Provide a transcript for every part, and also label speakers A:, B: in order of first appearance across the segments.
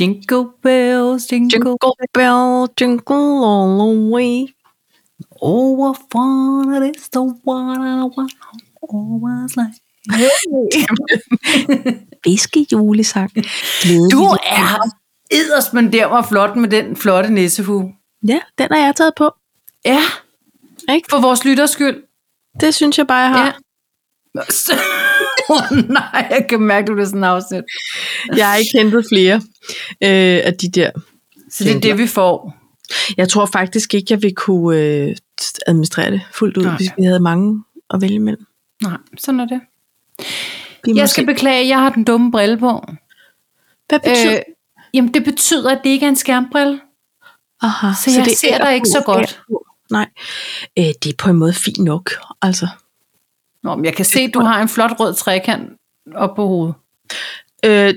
A: Jingle bells, jingle,
B: Jingle bell, jingle all the way.
A: oh what fun it is to what I want always like.
B: Fiske julesang. Glædelig
A: Du
B: jul.
A: er edderst, men der var flot med den flotte nissehue.
B: Ja, den har jeg taget på.
A: Ja,
B: Ikke?
A: for vores lytters skyld.
B: Det synes jeg bare, jeg har.
A: Ja. oh, nej, jeg kan mærke, at du bliver sådan afsnit.
B: Jeg har ikke hentet flere øh, af de der.
A: Så det er det, vi får.
B: Jeg tror faktisk ikke, jeg vil kunne øh, administrere det fuldt ud,
A: Nej.
B: Nej. hvis vi havde mange at vælge imellem.
A: Nej, sådan er det.
B: Vi
A: Jeg skal beklage, jeg har den dumme brille på.
B: Hvad betyder
A: Øh,
B: øh,
A: jamen, det betyder, at det ikke er en skærmbrille.
B: Aha,
A: Øh, så jeg ser
B: er
A: dig ikke så
B: på,
A: godt.
B: er på. Nej, øh, det er på en måde fint nok, altså.
A: Nå, men jeg kan se, at du har en flot rød trekant op på hovedet.
B: Øh,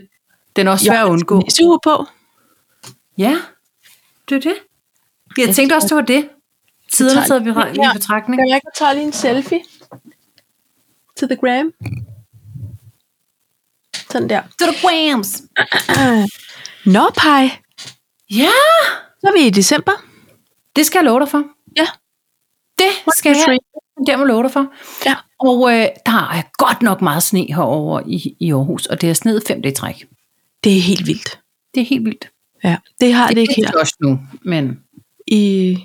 A: Den er også svær at undgå.
B: Sur på.
A: Ja, det er det. Jeg tænkte også, det var det. Tiderne
B: tager-
A: sidder vi i
B: Ja.
A: betragtning.
B: jeg ikke tage lige en selfie til The Gram? Sådan der.
A: Så er det Grams.
B: Nå, Pai.
A: Ja,
B: Så er vi i december.
A: det skal jeg love dig for.
B: Ja.
A: Det skal jeg. Det må jeg love dig for.
B: Ja.
A: Og øh, der er godt nok meget sne herover i, i Aarhus, og det er sneet fem dage i træk.
B: Det er helt vildt.
A: Det er helt vildt.
B: Ja, det har det, det ikke her
A: det også nu, men
B: i,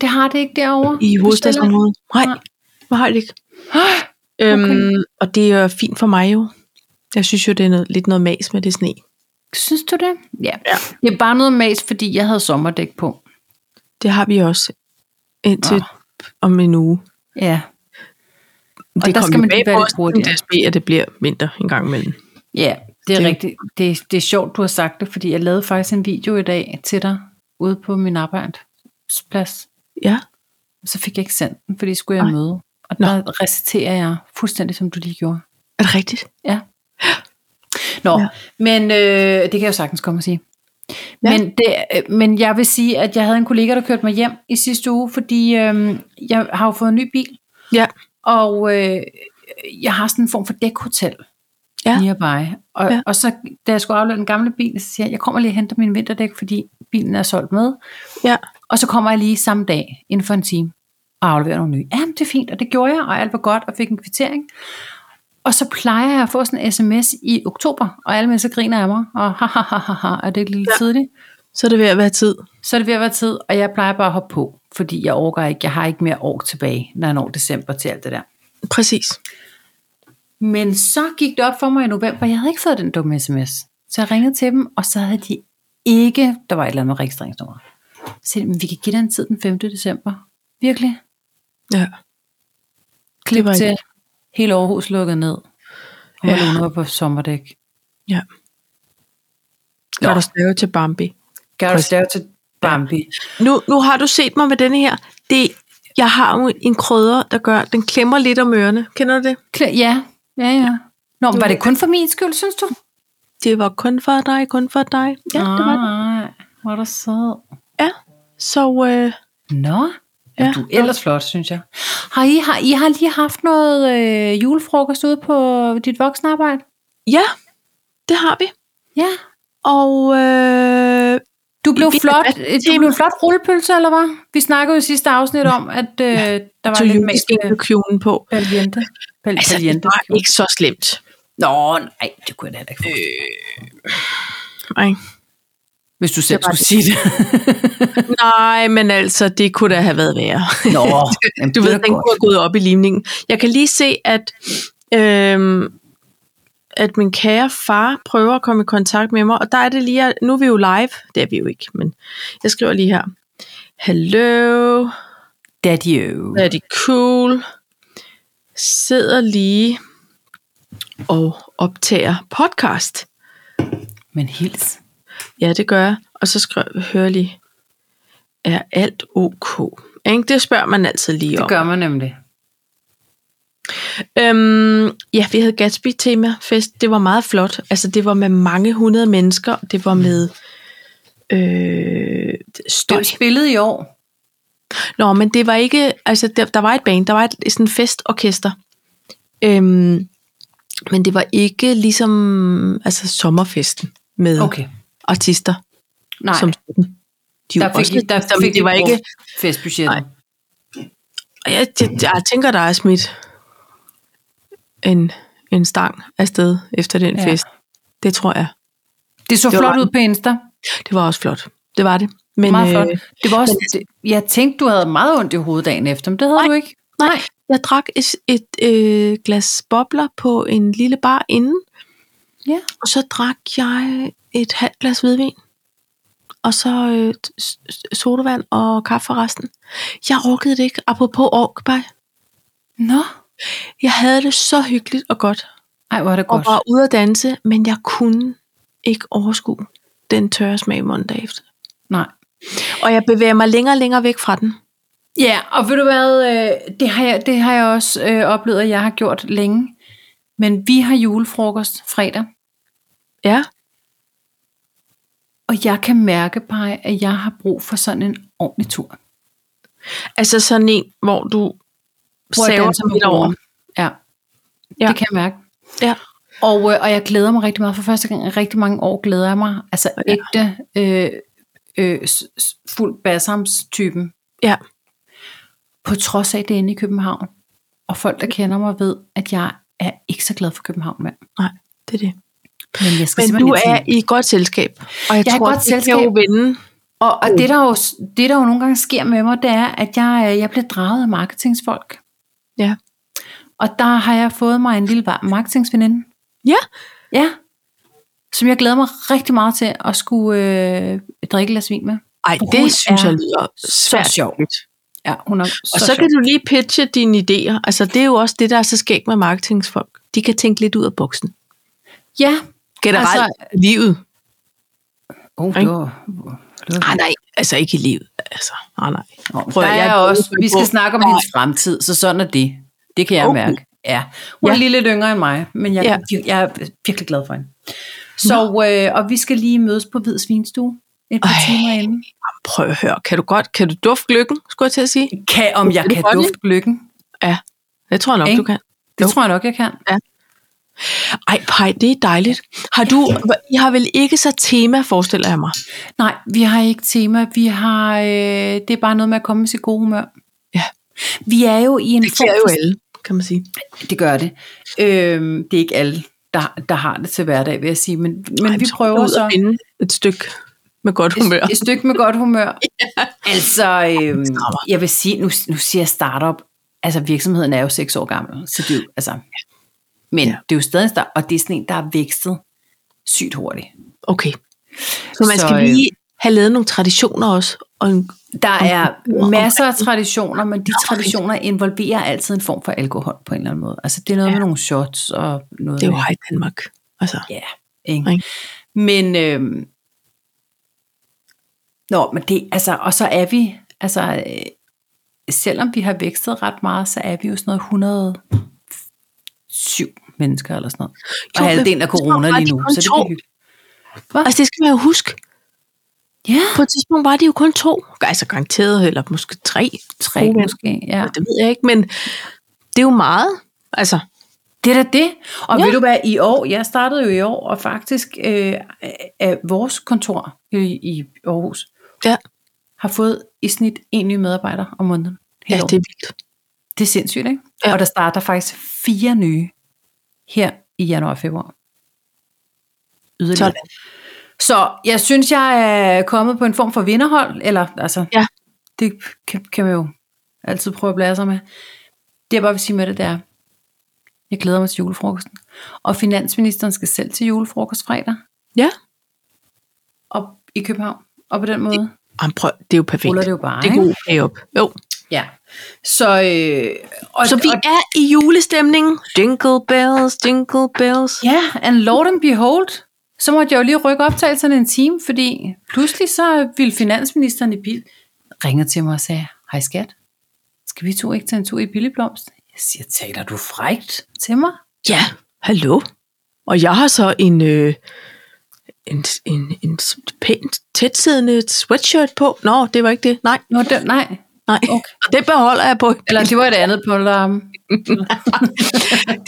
A: det har det ikke derovre.
B: i hovedstadsområdet. Nej,
A: Nej.
B: hvor har det ikke.
A: Ah,
B: Øhm, Og det er jo fint for mig jo. Jeg synes jo, det er noget, lidt noget mas med det sne.
A: Synes du det? Ja.
B: Ja.
A: Det er bare noget mas, fordi jeg havde sommerdæk på.
B: Det har vi også indtil om en uge.
A: Ja.
B: Og
A: der skal man lige være lidt hurtigere.
B: hurtigt. at det bliver vinter en gang imellem.
A: Ja, det er
B: Det-
A: det. rigtigt. Det, det er sjovt, du har sagt det, fordi jeg lavede faktisk en video i dag til dig ude på min arbejdsplads.
B: Ja,
A: Så fik jeg ikke sendt den, fordi skulle jeg
B: Ej.
A: møde. Og
B: Nå.
A: der reciterer jeg fuldstændig, som du lige gjorde.
B: er det rigtigt?
A: Ja. Nå,
B: Ja.
A: ja. men øh, det kan jeg jo sagtens komme og sige.
B: Ja.
A: Ja. Men, det, øh, men jeg vil sige, at jeg havde en kollega, der kørte mig hjem i sidste uge, fordi øh, jeg har jo fået en ny bil,
B: Ja.
A: og øh, jeg har sådan en form for dækhotel
B: Ja.
A: ja. nearby. Og,
B: Ja.
A: ja. og så, da jeg skulle aflevere den gamle bil, så siger jeg, jeg kommer lige og henter min vinterdæk, fordi bilen er solgt med.
B: Ja.
A: Og så kommer jeg lige samme dag, inden for en time, og afleverer nogle nye. Jamen, det er fint, og det gjorde jeg, og alt var godt, og fik en kvittering. Og så plejer jeg at få sådan en sms i oktober, og alle mennesker griner af mig, og ha, ha, ha, ha, ha, er det ikke lidt ja. tidligt?
B: Så er det ved at være tid.
A: Så er det ved at være tid, og jeg plejer bare at hoppe på, fordi jeg overgår ikke, jeg har ikke mere år tilbage, når jeg når december til alt det der.
B: Præcis.
A: Men så gik det op for mig i november, jeg havde ikke fået den dumme sms. Så jeg ringede til dem, og så havde de ikke, der var et eller andet med registreringsnummer. Så sagde de, "Men vi kan give dig en tid den 5. december. Virkelig?
B: Ja.
A: Klip
B: var
A: til.
B: ikke-
A: Hele Aarhus lukket ned. Og
B: Ja.
A: ja. var på sommerdæk.
B: ja.
A: Nå.
B: Kan du stave til Bambi?
A: Gør
B: Præcis.
A: det til Bambi.
B: Nu, nu har du set mig med denne her. Det, jeg har jo en krydder, der gør, den klemmer lidt om ørerne. Kender du det?
A: Kl- Ja, ja, ja. Nå, men var det kun for min skyld, synes du?
B: Det var kun for dig, kun for dig. Ja, det var det.
A: Nej, var der sød.
B: Ja. Så øh,
A: Nå,
B: Ja.
A: ja. du er ellers flot, synes jeg. Har I, har, I har lige haft noget øh, julefrokost ude på dit voksenarbejde?
B: ja, det har vi.
A: Ja.
B: Og øh,
A: Du blev,
B: Vi-
A: flot, øh,
B: hvad-
A: du blev en flot rullepølse, eller hvad? Vi snakkede jo i sidste afsnit om, at øh, der var
B: tog
A: lidt magisk
B: juleskinekjolen på.
A: palviente. Pal-
B: Altså, det var ikke så slemt.
A: Nå, nej, det kunne jeg da heller ikke forstå.
B: Nej.
A: Hvis du selv
B: det var
A: skulle sige det.
B: Nej, men altså, det kunne da have været værre.
A: Nå,
B: Du ved, den kunne have gået op i limningen. Jeg kan lige se, at, øhm, at min kære far prøver at komme i kontakt med mig, og der er det lige, at- nu er vi jo live. Det er vi jo ikke, men jeg skriver lige her. Hello,
A: Daddy øh. øv.
B: er det cool? Sidder lige og optager podcast.
A: Men hils.
B: Ja, det gør jeg. Og så skriver hører lige, er alt ok? Ikke? Det spørger man altid lige om.
A: Det gør man nemlig.
B: Øhm, ja, vi havde Gatsby-tema-fest. Det var meget flot. Altså, det var med mange hundrede mennesker. Det var med øh,
A: Det
B: støj.
A: er spillet i år.
B: Nå, men det var ikke... Altså, der, der var et band. Der var et sådan festorkester. Øhm, men det var ikke ligesom altså, sommerfesten med
A: Okay.
B: artister
A: Nej,
B: som sådan. De er
A: der
B: jo
A: fik,
B: også lidt
A: der
B: artister, men
A: fik
B: det var ikke...
A: festbudgettet.
B: Nej. Og Jeg, jeg, jeg tænker, der er smidt en, en stang afsted efter den
A: Ja.
B: ja. fest. Det tror jeg.
A: Det så
B: Det var
A: flot
B: bare-
A: ud på Insta.
B: Det var også flot. Det var det. Men,
A: Meget flot.
B: Øh,
A: Det var også, det, jeg tænkte, du havde meget ondt i hovedet dagen efter, men det havde
B: Nej.
A: du ikke.
B: nej, jeg drak et, et øh, glas bobler på en lille bar inden.
A: Ja.
B: Og så drak jeg et halvt glas hvidvin. Og så øh, t- s- sodavand og kaffe for resten. Jeg rukkede det ikke, apropos orkbej.
A: Nå,
B: Jeg havde det så hyggeligt og godt.
A: ej, hvor er det
B: og
A: godt.
B: var ude at danse, men jeg kunne ikke overskue den tørre smag mandag efter.
A: Nej.
B: Og jeg bevæger mig længere og længere væk fra den.
A: Ja, og ved du hvad, øh, det har jeg, det har jeg også øh, oplevet, at jeg har gjort længe. Men vi har julefrokost fredag,
B: Ja,
A: og jeg kan mærke bare, at jeg har brug for sådan en ordentlig tur.
B: altså sådan en, hvor du
A: jeg
B: saver
A: danser
B: som
A: på
B: lidt
A: bordet.
B: over.
A: Ja. ja,
B: Ja.
A: det kan jeg mærke.
B: Ja.
A: Og, øh, og jeg glæder mig rigtig meget. For første gang i rigtig mange år glæder jeg mig. Altså
B: Ja.
A: ægte, øh, øh, s- s- fuld basams-typen.
B: Ja.
A: På trods af det er inde i København. Og folk,
B: Mm.
A: der kender mig, ved, at jeg er ikke så glad for København mere.
B: Det er det.
A: Men jeg skal
B: Men
A: simpelthen
B: du
A: ikke
B: er
A: til-
B: i et godt selskab. Og jeg,
A: Jeg er i
B: tror,
A: godt
B: det kan
A: selskab.
B: jo vinde.
A: Og,
B: Mm.
A: og det, der jo, det, der jo nogle gange sker med mig, det er, at jeg, øh, jeg bliver draget af marketingsfolk.
B: Ja.
A: Og der har jeg fået mig en lille varm marketingsveninde.
B: Ja.
A: Ja. Som jeg glæder mig rigtig meget til at skulle øh, drikke et glas vin med.
B: Ej,
A: Hun
B: det synes
A: er
B: jeg lyder svært.
A: sjov.
B: hyggeligt.
A: Ja, hun er så,
B: Og så, så kan
A: sjov.
B: du lige pitche dine idéer. Altså, det er jo også det, der er så skægt med marketingsfolk. De kan tænke lidt ud af boksen.
A: Ja.
B: Generelt
A: Altså-
B: altså, livet.
A: Oh, det
B: Ikke?
A: var, det var,
B: Ah, nej, altså ikke i livet. Altså, ah, nej.
A: Nå,
B: prøv
A: der
B: at- jeg
A: er
B: er
A: også,
B: dårlig
A: vi skal
B: på-
A: snakke om
B: Nej.
A: hendes fremtid, så sådan er det. Det kan jeg
B: Okay.
A: mærke. Ja. Hun er
B: Ja.
A: lige lidt yngre end mig, men jeg,
B: Ja.
A: vir- jeg er virkelig glad for hende. Så, øh, og vi skal lige mødes på Hvids Vinstue et par
B: Ej.
A: timer inden.
B: prøv at høre, kan du godt, kan du dufte lykken, skulle jeg til at sige?
A: Kan, om jeg
B: Kan du
A: kan
B: godt
A: dufte lykken?
B: Jeg tror nok,
A: Ikke?
B: du kan.
A: Det
B: Jo.
A: tror jeg nok, jeg kan.
B: Ej, pej, det er dejligt. Har du, I har vel ikke så tema, forestiller jeg mig.
A: Nej, vi har ikke tema. Vi har, øh, det er bare noget med at komme med sit gode humør.
B: Ja.
A: Vi er jo i en
B: Det er jo alle, kan man sige.
A: Det gør det. Øhm, det er ikke alle, der, der har det til hverdag, vil jeg sige. Men, men
B: Ej,
A: vi
B: skal
A: prøver
B: ud og
A: så
B: finde et stykke med godt humør.
A: et, et stykke med godt humør. Altså, øhm,
B: strammer.
A: jeg vil sige, nu, nu siger jeg startup. Altså, virksomheden er jo seks år gammel. Så det er jo, altså, men
B: Ja.
A: det er jo stadig en start, og det er sådan en, der er vækstet sygt hurtigt.
B: Okay. Så man
A: Så,
B: skal
A: øh,
B: lige have lavet nogle traditioner også. Og en,
A: Der er
B: kultur, om
A: masser af traditioner, men de
B: fedt.
A: traditioner involverer altid en form for alkohol på en eller anden måde. Altså det er noget ja.
B: Ja.
A: med nogle shots og noget.
B: det er jo
A: med-
B: hej Danmark. Altså,
A: Ja, ikke?
B: Ikke?
A: Men, øhm, nå, men det, altså, og så er vi, altså, øh, selvom vi har vækstet ret meget, så er vi jo sådan noget 107 mennesker eller sådan noget. Og
B: Jo, men
A: halvdelen af
B: hvis man
A: corona
B: har
A: lige
B: de
A: nu,
B: kun
A: så det
B: to.
A: bliver hyggeligt.
B: altså det skal man jo huske.
A: Ja,
B: På et tidspunkt var det jo kun to. Altså garanteret, eller måske tre.
A: tre
B: Gode
A: måske, ja.
B: venner. Det ved jeg ikke, men det er jo meget. Altså,
A: Det er da det. Og ja.
B: Ja.
A: ved du hvad, i år, jeg startede jo i år, og faktisk øh, af vores kontor i, i Aarhus,
B: Ja.
A: har fået i snit en ny medarbejder om måneden.
B: ja,
A: Hele året.
B: det er vildt.
A: Det er sindssygt, ikke? Ja.
B: Ja.
A: Og der starter faktisk fire nye her i januar og februar. Yderligere.
B: Sådan.
A: Så jeg synes, jeg er kommet på en form for vinderhold, eller altså,
B: Ja.
A: det kan, kan man jo altid prøve at blære sig med. Det jeg bare vil sige med det, det er, jeg glæder mig til julefrokosten. Og finansministeren skal selv til julefrokost fredag
B: Ja.
A: op i København. Og på den måde
B: Jamen, prøv, det er jo perfekt.
A: ruller det jo bare.
B: Det er
A: ikke?
B: god kage op. Jo.
A: Ja. Så, øh, og,
B: Så vi
A: og,
B: er i julestemning. Jingle bells, jingle bells.
A: Ja, and lord and behold, så måtte jeg jo lige rykke optagelserne en time, fordi pludselig så ville finansministeren i bil ringe til mig og sagde, hej skat, skal vi to ikke tage en tur i Billigblomst? Jeg siger, taler du frægt til mig?
B: Ja, hallo. Og jeg har så en, øh, en, en, en s- pænt tætsiddende sweatshirt på. Nå, det var ikke det. Nej,
A: Nå, det, nej.
B: nej.
A: Okay.
B: Og det beholder jeg på.
A: Eller det var et andet på alarmen.
B: Det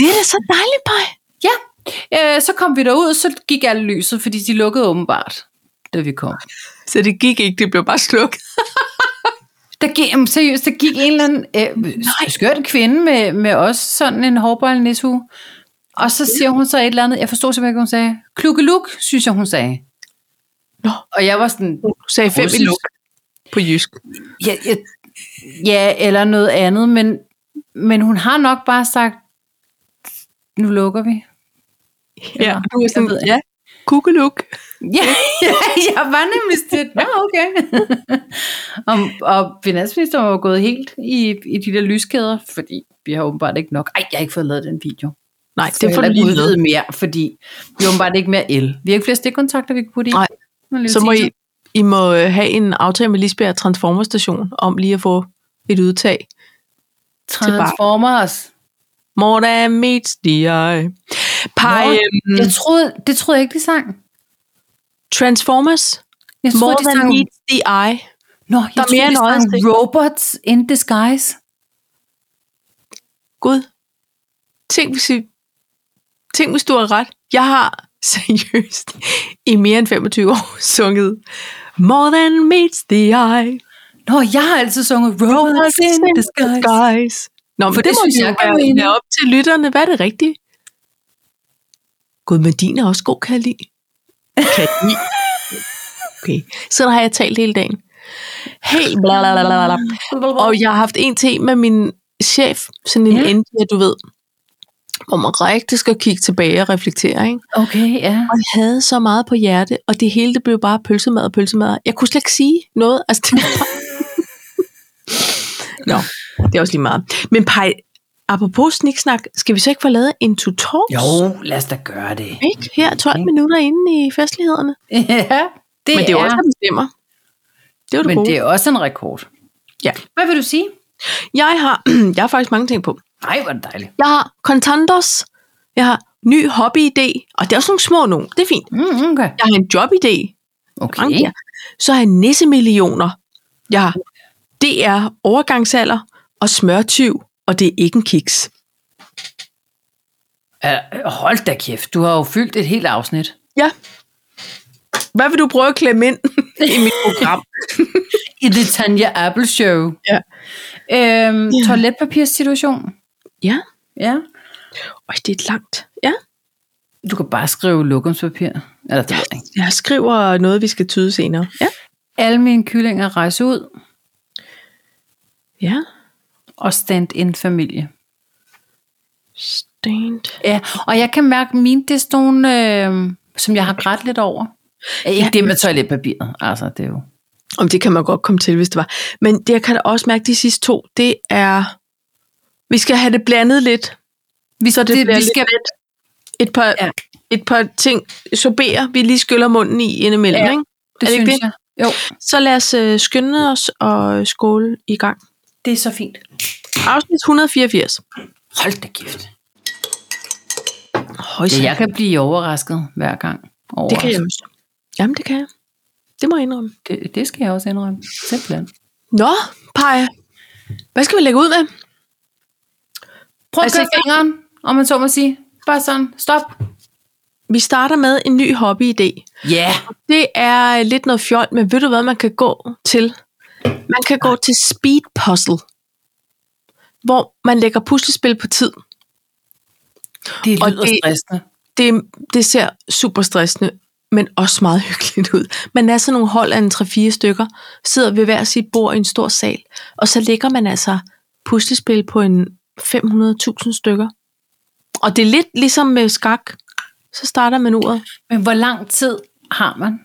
B: er da så dejligt, Paj.
A: Ja, øh, så kom vi derud, så gik alle lyset, fordi de lukkede åbenbart. da vi kom.
B: Så det gik ikke, det blev bare slukket.
A: Der gik, jamen, seriøst, der gik en eller anden øh, skørt kvinde med, med os sådan en hårbold nissehue. Og så siger hun så et eller andet, jeg forstod simpelthen ikke, hun sagde, klukkeluk, synes jeg, hun sagde.
B: Nå.
A: Og jeg var sådan,
B: Du sagde fem i
A: Russisk.
B: luk på jysk.
A: ja, ja, ja eller noget andet, men, men hun har nok bare sagt, nu lukker vi.
B: Ja,
A: Eller-
B: du er
A: jeg ved
B: sådan,
A: ikke.
B: ja, kukkeluk.
A: Ja, ja jeg var nemlig sådan, ja, okay. og, og finansministeren var gået helt i, i de der lyskæder, fordi vi har åbenbart ikke nok. Ej, jeg har ikke fået lavet den video.
B: Nej,
A: Det
B: det får du lige med.
A: udvidet mere, fordi vi har åbenbart ikke mere el. Vi har ikke flere stikkontakter, vi kan putte i.
B: Nej.
A: Sådan en lille
B: Så må I,
A: teaser.
B: I må øh, have en aftale med Lisbjerg Transformer Station om lige at få et udtag. bare-
A: Transformers.
B: More than meets the eye. Pej,
A: Nå,
B: øhm,
A: Jeg troede, det troede jeg ikke, de sang.
B: Transformers.
A: Jeg troede,
B: More
A: de
B: than
A: sang,
B: meets the eye.
A: Nå, jeg
B: Der er
A: troede,
B: mere
A: de
B: end
A: sang
B: øjestik.
A: Robots in Disguise.
B: Gud. Tænk hvis, I, tænk, hvis du har ret. Jeg har seriøst i mere end 25 år sunget More than meets the eye.
A: Nå, jeg har altid sunget Robots in Disguise.
B: Guys. Nå, men
A: For
B: det, det
A: det
B: må
A: synes
B: jo
A: jeg er
B: være,
A: mening.
B: være op til lytterne. Hvad er det rigtige? Gud, men din er også god, kan jeg lide. Kan jeg lide. Okay, sådan har jeg talt hele dagen. Helt blablabla. Og jeg har haft en ting med min chef, sådan en
A: Ja.
B: ja. NDA, du ved, hvor man rigtig skal kigge tilbage og reflektere, ikke?
A: Okay, ja.
B: Og jeg havde så meget på hjerte, og det hele det blev bare pølsemad og pølsemad. Jeg kunne slet ikke sige noget. Altså, det var bare... Nå, det er også lige meget. Men Pej, apropos sniksnak, skal vi så ikke få lavet en tutorial?
A: Jo, lad os da gøre det.
B: Ikke? Her 12 minutter inde i festlighederne.
A: Ja, det,
B: Men det er jo også, der bestemmer. Det er jo det
A: men
B: gode.
A: det er også en rekord.
B: Ja.
A: Hvad vil du sige?
B: Jeg, har, jeg har faktisk mange ting på.
A: Nej, hvor er det dejligt.
B: Jeg har kontantos. Jeg har ny hobbyidé. Og det er også nogle små nogen. Det er fint.
A: Mm, okay.
B: Jeg har en jobidé.
A: okay.
B: Okay. Så har jeg nissemillioner. Jeg har DR overgangsalder og smørtyv. Og det er ikke en kiks.
A: Ja, Øh, hold da kæft, du har jo fyldt et helt afsnit.
B: Ja. Hvad vil du prøve at klemme ind i mit program?
A: I det Tanja Apple Show.
B: Ja.
A: Øhm,
B: Ja.
A: Toiletpapirssituation.
B: Ja.
A: Ja.
B: Øj, det er et langt. Ja.
A: Du kan bare skrive lokumspapir. Eller det ved jeg ikke.
B: Jeg skriver noget, vi skal tyde senere. Ja.
A: Alle mine kyllinger rejser ud
B: Ja.
A: og stand-in familie.
B: Stand.
A: Ja, og jeg kan mærke, at mine, det er sådan nogle, øh, som jeg har grædt lidt over. Ja, ikke det med toiletpapiret, altså det er jo...
B: Om det kan man godt komme til, hvis det var. Men det, jeg kan da også mærke de sidste to, det er... Vi skal have det blandet lidt.
A: Vi, så
B: det
A: det,
B: bliver
A: vi skal,
B: lidt Et par,
A: Ja.
B: ja. et par ting sorberer, vi lige skyller munden i indimellem.
A: Ja.
B: Ja. Ikke?
A: det
B: er det ikke
A: synes
B: det?
A: jeg. Jo,
B: Så lad os øh, skynde os og øh, skåle i gang.
A: det er så fint.
B: Afsnit 184.
A: Hold da kæft.
B: Højse.
A: Ja, jeg kan blive overrasket hver gang. Over.
B: Det kan jeg også. Jamen, det kan jeg. Det må jeg indrømme.
A: Det, det skal jeg også indrømme. Simpelthen.
B: Nå, Paj. Hvad skal vi lægge ud med?
A: Prøv at
B: Altså,
A: køre fingeren, om man så må sige. Bare sådan, stop.
B: Vi starter med en ny hobbyidé.
A: Ja.
B: Det er øh, lidt noget fjol, men ved du hvad man kan gå til? Man kan gå til speed puzzle, hvor man lægger puslespil på tid.
A: Det
B: Og
A: lyder
B: det-
A: stressende.
B: det, det ser super stressende, men også meget hyggeligt ud. Man er sådan nogle hold af en 3-4 stykker, sidder ved hver sit bord i en stor sal, og så lægger man altså puslespil på en 500.000 stykker. Og det er lidt ligesom med skak. Så starter man uret.
A: Men hvor lang tid har man?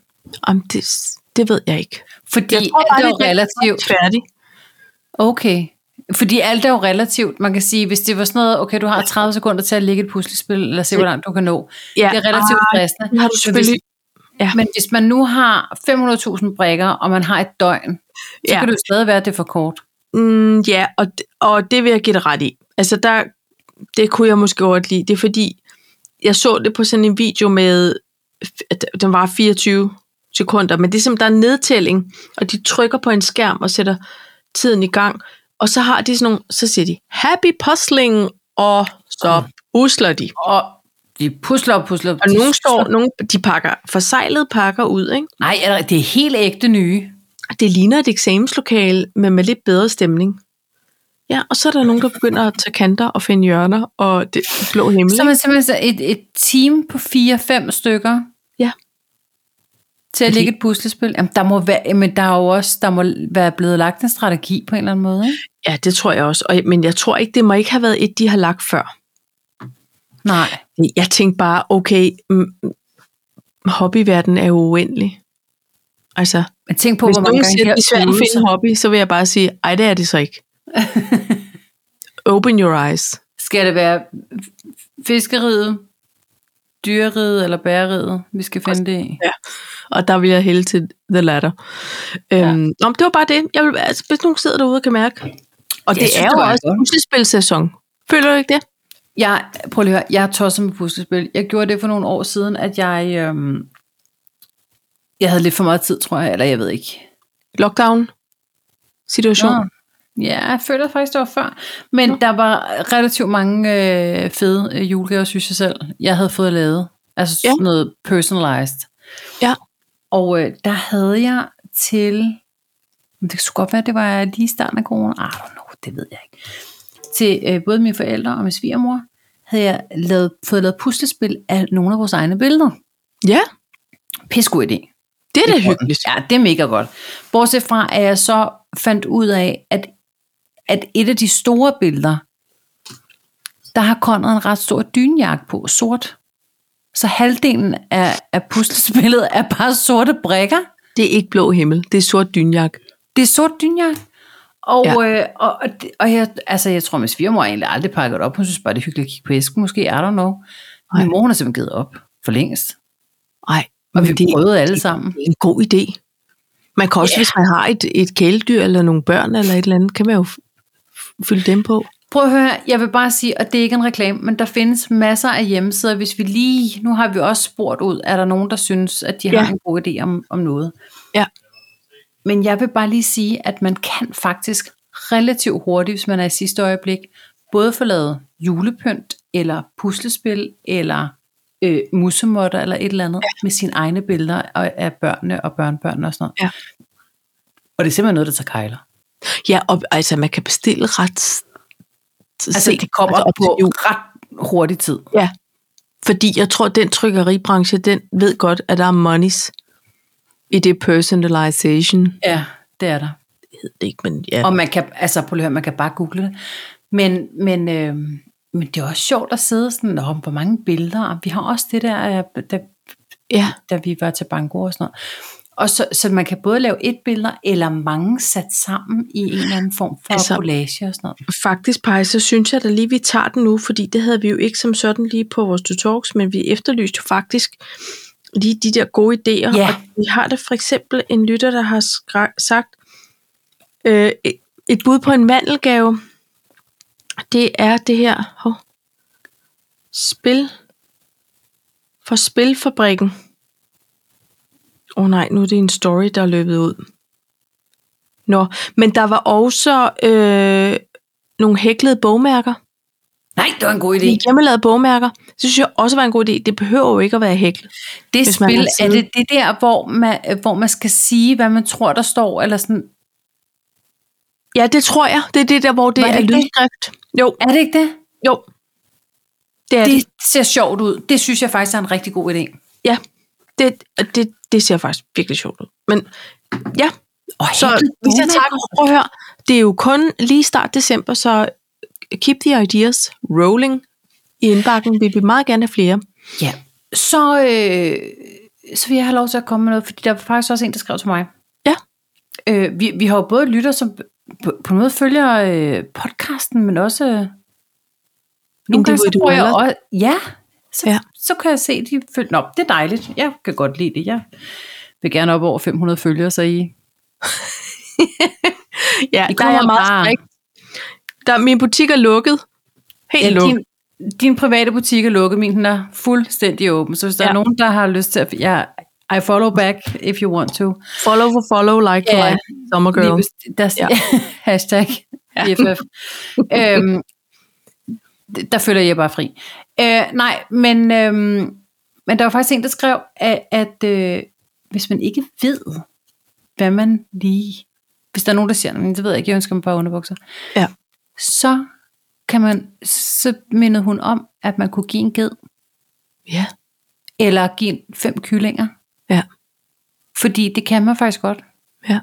B: Jamen, det, det ved jeg ikke.
A: Fordi
B: Jeg tror bare,
A: alt er jo
B: det er
A: relativt.
B: Færdig.
A: Okay. Fordi alt er jo relativt. Man kan sige, hvis det var sådan noget, okay, du har 30 sekunder til at lægge et puslespil, eller se, hvor langt du kan nå.
B: Ja,
A: Det er relativt stressende.
B: har du
A: Men hvis,
B: selvfølgelig... Ja.
A: men hvis man nu har 500.000 brækker, og man har et døgn, så ja.
B: Ja.
A: kan det jo stadig være, at det er for kort.
B: Mm, ja, og, og det vil jeg give dig ret i. Altså, der, det kunne jeg måske godt lide. Det er fordi, jeg så det på sådan en video med, at den var 24 sekunder, men det er som, der er en nedtælling, og de trykker på en skærm og sætter tiden i gang, og så har de sådan nogle, så siger de, happy puzzling, og så usler de.
A: Og De pusler og pusler.
B: Og nogle står, nogle, de pakker forsejlede pakker ud, ikke?
A: Nej, eller det er helt ægte nye.
B: Det ligner et eksamenslokale, men med lidt bedre stemning. Ja, og så er der nogen, der begynder at tage kanter og finde hjørner og det blå himmel.
A: Så er man simpelthen et, et team på 4-5 stykker
B: Ja.
A: til at
B: Fordi-
A: lægge et puslespil. Jamen, der må være, men der er jo også, der må være blevet lagt en strategi på en eller anden måde. Ikke?
B: ja, det tror jeg også. Og, men jeg tror ikke, det må ikke have været et, de har lagt før.
A: Nej.
B: Jeg tænkte bare, okay, mm, hobbyverdenen er jo uendelig. Altså,
A: Men tænk på,
B: Hvis
A: hvor mange
B: nogen
A: gange
B: siger,
A: de
B: at
A: har
B: det er svært at
A: øvet
B: finde en hobby, så vil jeg bare sige, ej, det er det så ikke. Open your eyes.
A: Skal det være fiskeriet, dyreriet eller bæreriet, vi skal finde det i?
B: Og der vil jeg hælde til the latter.
A: Ja.
B: Ja. Øhm, nå, men det var bare det. Jeg vil, altså, hvis nogen sidder derude og kan mærke. Og det,
A: Jeg synes,
B: er
A: det
B: jo
A: var
B: også
A: godt.
B: puslespilsæson. Føler du ikke det?
A: Jeg, prøv lige at høre, jeg er tosset med puslespil. Jeg gjorde det for nogle år siden, at jeg, øhm, jeg havde lidt for meget tid, tror jeg, eller jeg ved ikke.
B: Lockdown situation.
A: Nå. Ja, jeg føler faktisk, det var før. Men der var relativt mange øh, fede øh, julegaver, synes jeg selv, jeg havde fået lavet. Altså
B: Ja.
A: sådan noget personalized.
B: Ja.
A: Og øh, der havde jeg til... Men Det skulle godt være, det var lige i starten af corona. I don't know, det ved jeg ikke. Til øh, både mine forældre og min svigermor havde jeg lavet, fået lavet puslespil af nogle af vores egne billeder.
B: Ja,
A: Pissegod idé.
B: det er da
A: Det er
B: hyggeligt.
A: Ja, det er mega godt. Bortset fra, at jeg så fandt ud af, at, at et af de store billeder, der har Conrad en ret stor dynjakke på, sort. Så halvdelen af, af puslespillet er bare sorte brikker.
B: Det er ikke blå himmel. Det er sort dynjak.
A: Det er sort dynjakke. Og,
B: Ja.
A: ja. øh, og, og, det- og jeg, altså, jeg tror, min svigermor har egentlig aldrig pakket det op. Hun synes bare, det er hyggeligt at kigge på æsken. Måske, I don't know.
B: Nej.
A: Min mor, hun har simpelthen givet op for længst.
B: Nej,
A: Og
B: men
A: vi
B: det,
A: prøvede alle sammen.
B: det er en god idé. Man kan også,
A: Ja.
B: yeah. hvis man har et, et kæledyr eller nogle børn eller et eller andet, kan man jo f- fylde dem på.
A: Prøv at høre, her. jeg vil bare sige, og det er ikke en reklame, men der findes masser af hjemmesider, hvis vi lige, nu har vi også spurgt ud, er der nogen, der synes, at de ja.
B: Ja.
A: har en god idé om, om noget.
B: Ja.
A: Men jeg vil bare lige sige, at man kan faktisk relativt hurtigt, hvis man er i sidste øjeblik, både få lavet julepynt, eller puslespil, eller øh, musemotter, eller et eller andet, ja. med sine egne billeder af af børnene og børnebørnene og sådan noget.
B: Ja.
A: Og det er simpelthen noget, der tager kejler.
B: Ja, og altså man kan bestille ret s-
A: Altså,
B: sent,
A: det kommer
B: altså,
A: op
B: til
A: på
B: jul.
A: ret hurtig tid.
B: Ja, fordi jeg tror, den trykkeribranche, den ved godt, at der er monies i det personalization.
A: Ja, det er der.
B: Jeg ved det ikke, men ja.
A: Og man kan, altså prøv lige at høre, man kan bare google det. Men, men, øh, men det er også sjovt at sidde sådan, om hvor mange billeder, og vi har også det der, øh, da,
B: ja.
A: da vi var til banko og sådan noget. Og så, så man kan både lave et billeder, eller mange sat sammen i en eller anden form for altså,
B: Altså-
A: collage og sådan noget.
B: Faktisk, Paj, så synes jeg da lige, vi tager den nu, fordi det havde vi jo ikke som sådan lige på vores tutorials, men vi efterlyste jo faktisk lige de der gode idéer.
A: Ja.
B: Og vi har der for eksempel en lytter, der har skra- sagt, øh, et- et bud på en mandelgave, det er det her hov, spil for spilfabrikken. Åh oh, nej, nu er det en story, der er løbet ud. Nå, men der var også øh, nogle hæklede bogmærker.
A: Nej, det var en god idé.
B: Nogle hjemmelavede bogmærker. Det synes jeg også var en god idé. Det behøver jo ikke at være hæklet.
A: Det
B: hvis man
A: spil,
B: har
A: er
B: siddet-
A: det det der, hvor man, øh, hvor man skal sige, hvad man tror, der står, eller sådan.
B: Ja, det tror jeg. Det er det der, hvor det,
A: Var det
B: er
A: ikke det?
B: lydskrift. Jo,
A: Er det ikke det?
B: jo. Det er det.
A: Det ser sjovt ud. Det synes jeg faktisk er en rigtig god idé.
B: Ja, det, og det, det ser faktisk virkelig sjovt ud. Men ja,
A: Og
B: så hvis jeg tager, prøv at høre, det er jo kun lige start december, så keep the ideas rolling i indbakken. Vi vil meget gerne have flere.
A: Ja, så, øh, så vil jeg have lov til at komme med noget, fordi der var faktisk også en, der skrev til mig.
B: Ja.
A: Øh, vi, vi har jo både lytter, som på, på en måde følger øh, podcasten, men også... øh, Nogle gange så prøver jeg
B: Individuelle.
A: også... Ja, så, ja.
B: Ja.
A: så kan jeg se, de følger... Nå, det er dejligt. Jeg kan godt lide det. Jeg vil gerne op over 500 følgere, så I...
B: Ja,
A: I
B: der er
A: kommer
B: jeg meget
A: bare-
B: strikt. Der, min butik er lukket. Helt ja, lukket.
A: din, din private butik er lukket, min den er fuldstændig åben. Så hvis der ja.
B: Ja.
A: er nogen, der har lyst til at... Jeg, I follow back if you want to.
B: Follow for follow, like for
A: Ja.
B: like. Summer
A: Lige
B: girl.
A: præcis. der, ja.
B: Ja.
A: hashtag BFF. øhm, der føler jeg bare fri. Øh, nej, men, øh, men der var faktisk en, der skrev, at, at øh, hvis man ikke ved, hvad man lige... Hvis der er nogen, der siger, men det ved jeg ikke, jeg ønsker mig bare underbukser.
B: Ja.
A: Så kan man, så mindede hun om, at man kunne give en ged,
B: Ja.
A: eller give en- fem kyllinger.
B: Ja.
A: Fordi det kan man faktisk godt.
B: Ja.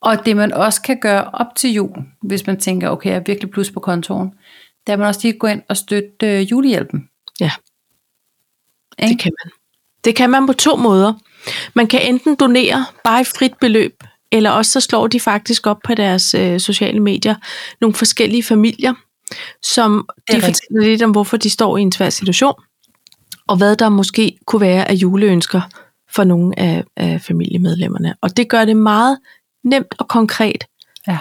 A: Og det man også kan gøre op til jul, hvis man tænker, okay, jeg er virkelig plus på kontoren, der er man også lige kan gå ind og støtte øh, julehjælpen.
B: Ja.
A: Ikke?
B: Det kan man. Det kan man på to måder. Man kan enten donere bare i frit beløb, eller også så slår de faktisk op på deres øh, sociale medier nogle forskellige familier, som de
A: rigtigt.
B: fortæller lidt om, hvorfor de står i en svær situation, og hvad der måske kunne være af juleønsker for nogle af, af familiemedlemmerne. Og det gør det meget nemt og konkret
A: Ja.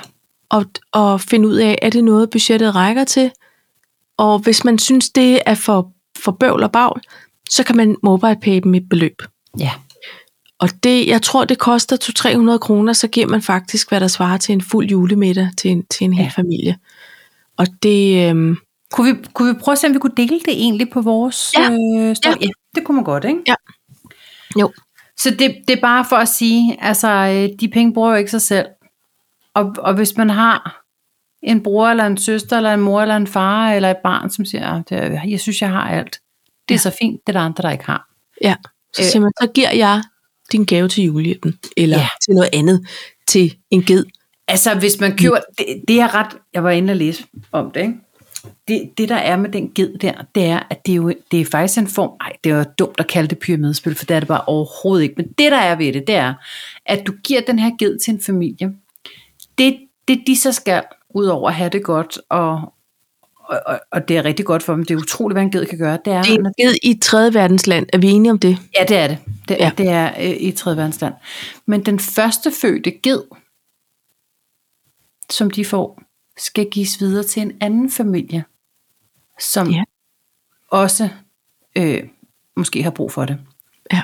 B: og, og finde ud af, er det noget, budgettet rækker til? Og hvis man synes, det er for, for bøvl og bag, så kan man mobile pay dem et beløb.
A: ja.
B: Og det, jeg tror, det koster 200-300 kroner, så giver man faktisk, hvad der svarer til en fuld julemiddag til en, til en hel
A: Ja.
B: familie. Og det, øhm,
A: Kunne vi, kunne vi prøve at se, om vi kunne dele det egentlig på vores
B: Ja.
A: øh, story?
B: Ja.
A: ja. det kunne man godt, ikke?
B: Ja. Jo.
A: Så det, det er bare for at sige, altså, øh, de penge bruger jo ikke sig selv. Og, og hvis man har en bror, eller en søster, eller en mor, eller en far, eller et barn, som siger, "Ah, det, er- jeg synes, jeg har alt. Det er ja. så fint, det er der andre, der ikke har.
B: ja, så,
A: Øh.
B: øh, man, så giver jeg din gave til julehjælpen, eller
A: Ja.
B: ja. til noget andet, til en ged.
A: Altså, hvis man køber... Det, det er ret... Jeg var inde og læse om det, ikke? Det, det, der er med den ged der, det er, at det er, jo, det er faktisk en form... Ej, det er jo dumt at kalde det pyramidespil, for det er det bare overhovedet ikke. Men det, der er ved det, det er, at du giver den her ged til en familie. Det, det de så skal, udover at have det godt, og, og, og, og det er rigtig godt for dem, det er utroligt, hvad en ged kan gøre, det er...
B: Det er en ged i et tredje verdensland. Er vi enige om det?
A: Ja, det er det. Det, ja.
B: Ja.
A: det er øh, i tredje verdensland. Men den første fødte ged, som de får, skal gives videre til en anden familie, som ja.
B: Ja.
A: også øh, måske har brug for det.
B: Ja.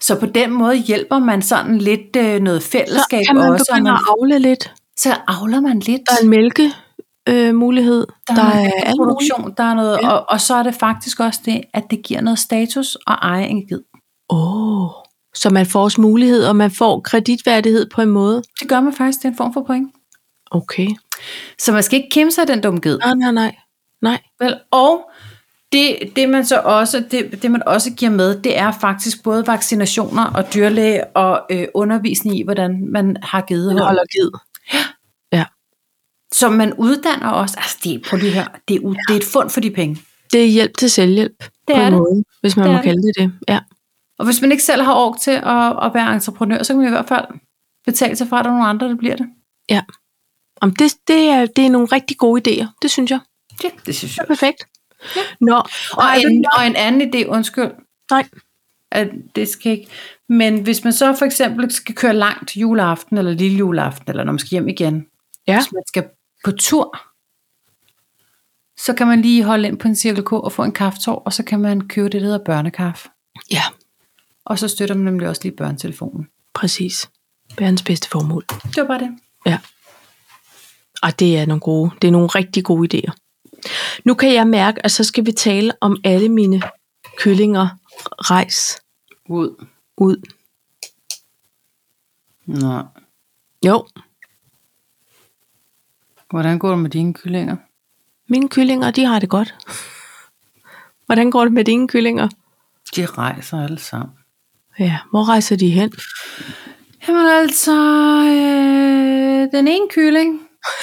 A: Så på den måde hjælper man sådan lidt øh, noget fællesskab
B: Så kan man
A: også, og
B: begynde
A: man,
B: at afle lidt.
A: så avler man lidt.
B: Der er en mælkemulighed. Øh, mulighed.
A: Der,
B: der
A: er,
B: er
A: noget
B: alt muligt.
A: produktion, der er noget, ja.
B: Ja.
A: og, og så er det faktisk også det, at det giver noget status at eje en ged.
B: Oh. Så man får også mulighed, og man får kreditværdighed på en måde.
A: Det gør man faktisk, det er en form for point.
B: Okay.
A: Så man skal ikke kæmpe sig af den dumme ged.
B: Nej, nej, nej. Nej.
A: Vel, og det, det, man så også, det, det, man også giver med, det er faktisk både vaccinationer og dyrlæge og øh, undervisning i, hvordan man har
B: Den
A: gedehold.
B: holder ged.
A: Som man uddanner også. Altså, det, prøv lige her, det, er, u- det er et fund for de penge.
B: Det er hjælp til selvhjælp.
A: Det
B: på
A: er det.
B: en måde, hvis man
A: Det
B: det
A: er
B: må kalde det det. Ja.
A: Og hvis man ikke selv har ork til at, at være entreprenør, så kan man i hvert fald betale sig fra, at der er nogle andre, der bliver det.
B: Om det, det, er, det er nogle rigtig gode idéer. Det synes jeg.
A: Ja, det synes
B: Det
A: jeg.
B: er perfekt. Ja. Nå,
A: Og
B: Ej,
A: en,
B: men-
A: og en anden idé, undskyld,
B: nej.
A: at det skal ikke. Men hvis man så for eksempel skal køre langt juleaften, eller lille juleaften, eller når man skal hjem igen,
B: Ja.
A: hvis man skal på tur, så kan man lige holde ind på en Cirkel K og få en kaffetår, og så kan man købe det, der hedder børnekaffe.
B: Ja,
A: Og så støtter man nemlig også lige børnetelefonen.
B: præcis. Verdens bedste formål.
A: Det var bare det.
B: Ja. Og det er nogle gode, det er nogle rigtig gode idéer. Nu kan jeg mærke, at så skal vi tale om alle mine kyllinger rejs
A: Ud.
B: ud.
A: Nå,
B: Jo,
A: hvordan går det med dine kyllinger?
B: mine kyllinger, de har det godt. Hvordan går det med dine kyllinger?
A: De rejser alle sammen.
B: Ja, hvor rejser de hen?
A: Jamen altså, øh, den ene kylling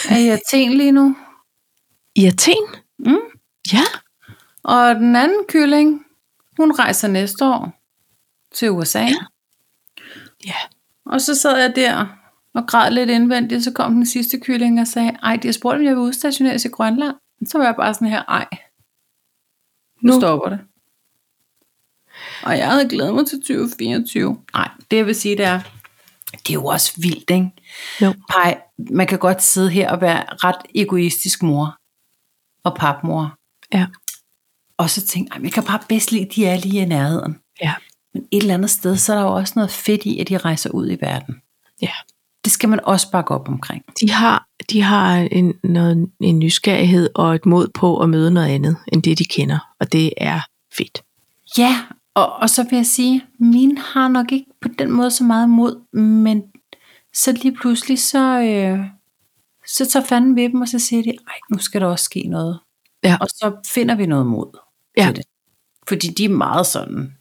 A: er i Athen lige nu,
B: I Athen?
A: Mm.
B: Ja.
A: og den anden kylling, hun rejser næste år til USA. Ja.
B: Ja.
A: Og så sad jeg der og græd lidt indvendigt, så kom den sidste kylling og sagde, ej, de har spurgt, om jeg vil udstationeres i Grønland. Så var jeg bare sådan her, ej, nu, nu.
B: Nu.
A: stopper det. Og jeg havde glædet mig til 2024. Nej, det jeg vil sige, det er, det er jo også vildt, ikke?
B: Jo.
A: Pej, man kan godt sidde her og være ret egoistisk mor og papmor.
B: Ja.
A: Og så tænke, "Ej, men jeg kan bare bedst lide, de er lige i nærheden.
B: Ja.
A: Men et eller andet sted, så er der jo også noget fedt i, at de rejser ud i verden.
B: Ja.
A: det skal man også bakke op omkring.
B: De har, de har en, noget, en nysgerrighed og et mod på at møde noget andet, end det de kender. Og det er fedt.
A: Ja, og, og så vil jeg sige, mine har nok ikke på den måde så meget mod, men så lige pludselig, så, øh, så tager fanden ved dem, og så siger de, ej, nu skal der også ske noget.
B: Ja.
A: Og så finder vi noget mod
B: Ja.
A: til det. Fordi de er meget sådan,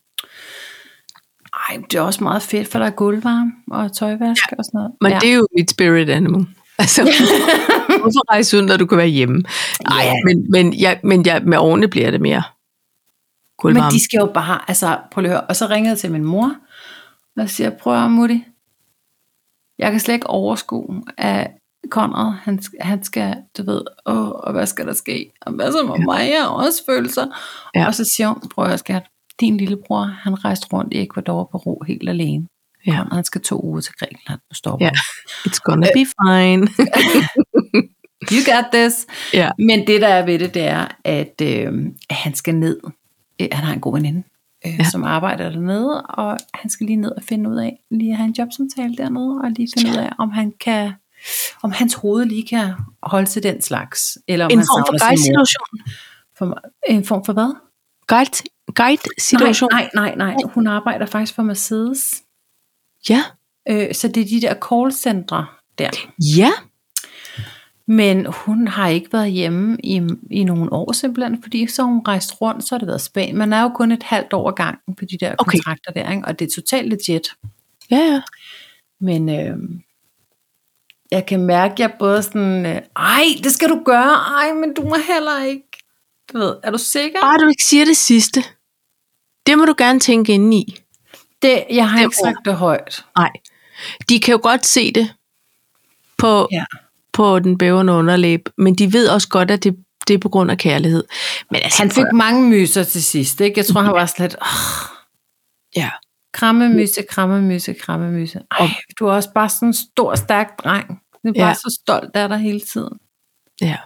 A: ej, det er også meget fedt, for der er gulvvarme og tøjvask ja. og sådan noget.
B: Men
A: ja.
B: ja. det er jo mit spirit animal. Altså, hvorfor rejse ud, når du kan være hjemme? Nej,
A: Ja.
B: men, men, jeg, men jeg, med årene bliver det
A: Men
B: mere gulvvarme.
A: de skal jo bare, altså prøv lige at høre. Og så ringede jeg til min mor, og siger, prøv at høre, Mutti, jeg kan slet ikke overskue, at Konrad, han, han skal, du ved, åh, og hvad skal der ske? Og hvad så med mig? Jeg har også følelser.
B: Ja.
A: Ja. Og så siger hun, prøv at høre, skat, din lillebror, han rejste rundt i Ecuador og Peru helt alene.
B: Ja.
A: Og han skal to uger til Grækenland. Nu stopper
B: Ja. It's gonna
A: Øh,
B: be fine.
A: You got this.
B: Ja.
A: Men det, der er ved det, det er, at øh, han skal ned. Øh, han har en god veninde, øh,
B: Ja.
A: ja. som arbejder dernede, og han skal lige ned og finde ud af, lige at have en jobsamtale dernede, og lige finde ja. ud af, om han kan om hans hoved lige kan holde til den slags. Eller om
B: en
A: han
B: form for
A: savner sin mor.
B: guide-situation.
A: For mig- En form for hvad?
B: Guide, guide-situation.
A: Nej, nej, nej, nej. Hun arbejder faktisk for Mercedes.
B: Ja.
A: Øh, så det er de der callcentre der.
B: ja,
A: Men hun har ikke været hjemme i, i nogle år simpelthen, fordi så har hun rejst rundt, så har det været Spanien. Man er jo kun et halvt år ad gangen på de der
B: Okay.
A: okay. kontrakter der, ikke? og det er totalt legit.
B: ja, ja.
A: Men øh, jeg kan mærke, at jeg både sådan, øh, ej, det skal du gøre, ej, men du må heller ikke. Du ved, er du sikker?
B: Bare du ikke siger det sidste. Det må du gerne tænke ind i.
A: Det, jeg har
B: det Altså,
A: ikke
B: ord.
A: sagt det højt.
B: Nej. De kan jo godt se det på,
A: Ja.
B: på den bævende underlæb, men de ved også godt, at det, det er på grund af kærlighed. Men altså,
A: Han fik mange myser til sidst, ikke? Jeg tror, han var slet, oh,
B: ja.
A: Kramme myse, kramme myse, kramme myse. Ej, du er også bare sådan en stor, stærk dreng. Jeg er bare
B: Ja.
A: ja. så stolt af dig hele tiden.
B: ja.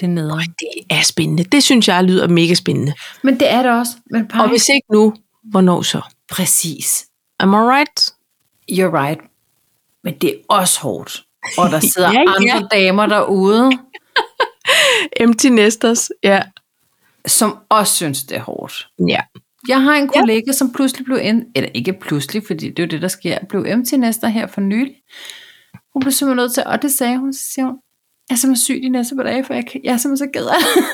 A: Det er nederen.
B: Det er spændende. Det synes jeg lyder mega spændende.
A: Men det er det også. Men
B: Og
A: bare,
B: hvis ikke nu, hvornår så?
A: præcis.
B: Am I right?
A: You're right. Men det er også hårdt. Og der sidder
B: Ja,
A: ja,
B: ja.
A: andre damer derude,
B: Empty nesters. Ja.
A: som også synes, det er hårdt.
B: Ja.
A: Jeg har en kollega, ja. som pludselig blev en, eller ikke pludselig, fordi det er jo det, der sker, blev MT næster her for nylig. Hun blev simpelthen nødt til, og det sagde hun, så siger hun, jeg er simpelthen syg de næste par dage, for jeg, kan- jeg er simpelthen så ked af det.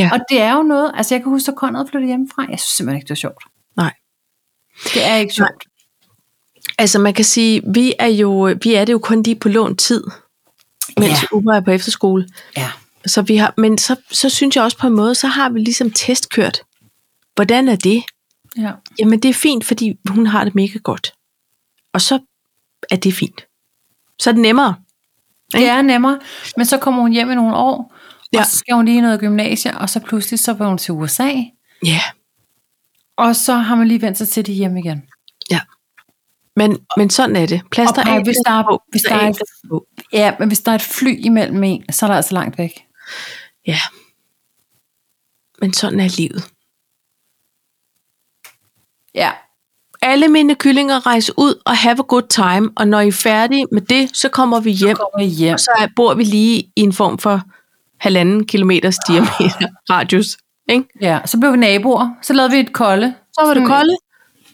B: Ja.
A: Ja. Og det er jo noget, altså jeg kan huske, at Conrad flyttede hjemmefra, jeg synes simpelthen ikke, det var sjovt.
B: Nej.
A: Det er ikke sjovt.
B: Altså man kan sige, vi er, jo, vi er det jo kun lige på lån tid, mens ja. Uber er på efterskole.
A: Ja.
B: Så vi har, men så, så synes jeg også på en måde, så har vi ligesom testkørt. Hvordan er det?
A: ja.
B: Jamen det er fint, fordi hun har det mega godt. Og så er det fint. Så er det nemmere.
A: Det er nemmere, men så kommer hun hjem i nogle år, ja.
B: Ja.
A: og så skal hun lige i noget gymnasie, og så pludselig så var hun til USA,
B: Ja.
A: og så har man lige vendt sig til det hjem igen.
B: Men, men sådan er det. Plaster
A: Og bare,
B: af,
A: hvis der er-
B: plaster på,
A: hvis
B: plaster
A: der er-
B: af, plaster på.
A: Ja, men hvis der er et fly imellem en, så er der altså langt væk.
B: Ja. Men sådan er livet.
A: Ja,
B: Alle mine kyllinger rejser ud og have a good time, og når I er færdige med det, så kommer vi hjem,
A: kommer hjem.
B: og så er- bor vi lige i en form for halvanden kilometers diameter radius. Ikke?
A: Ja, så blev vi naboer, så lavede vi et kolde.
B: Så var det kolde,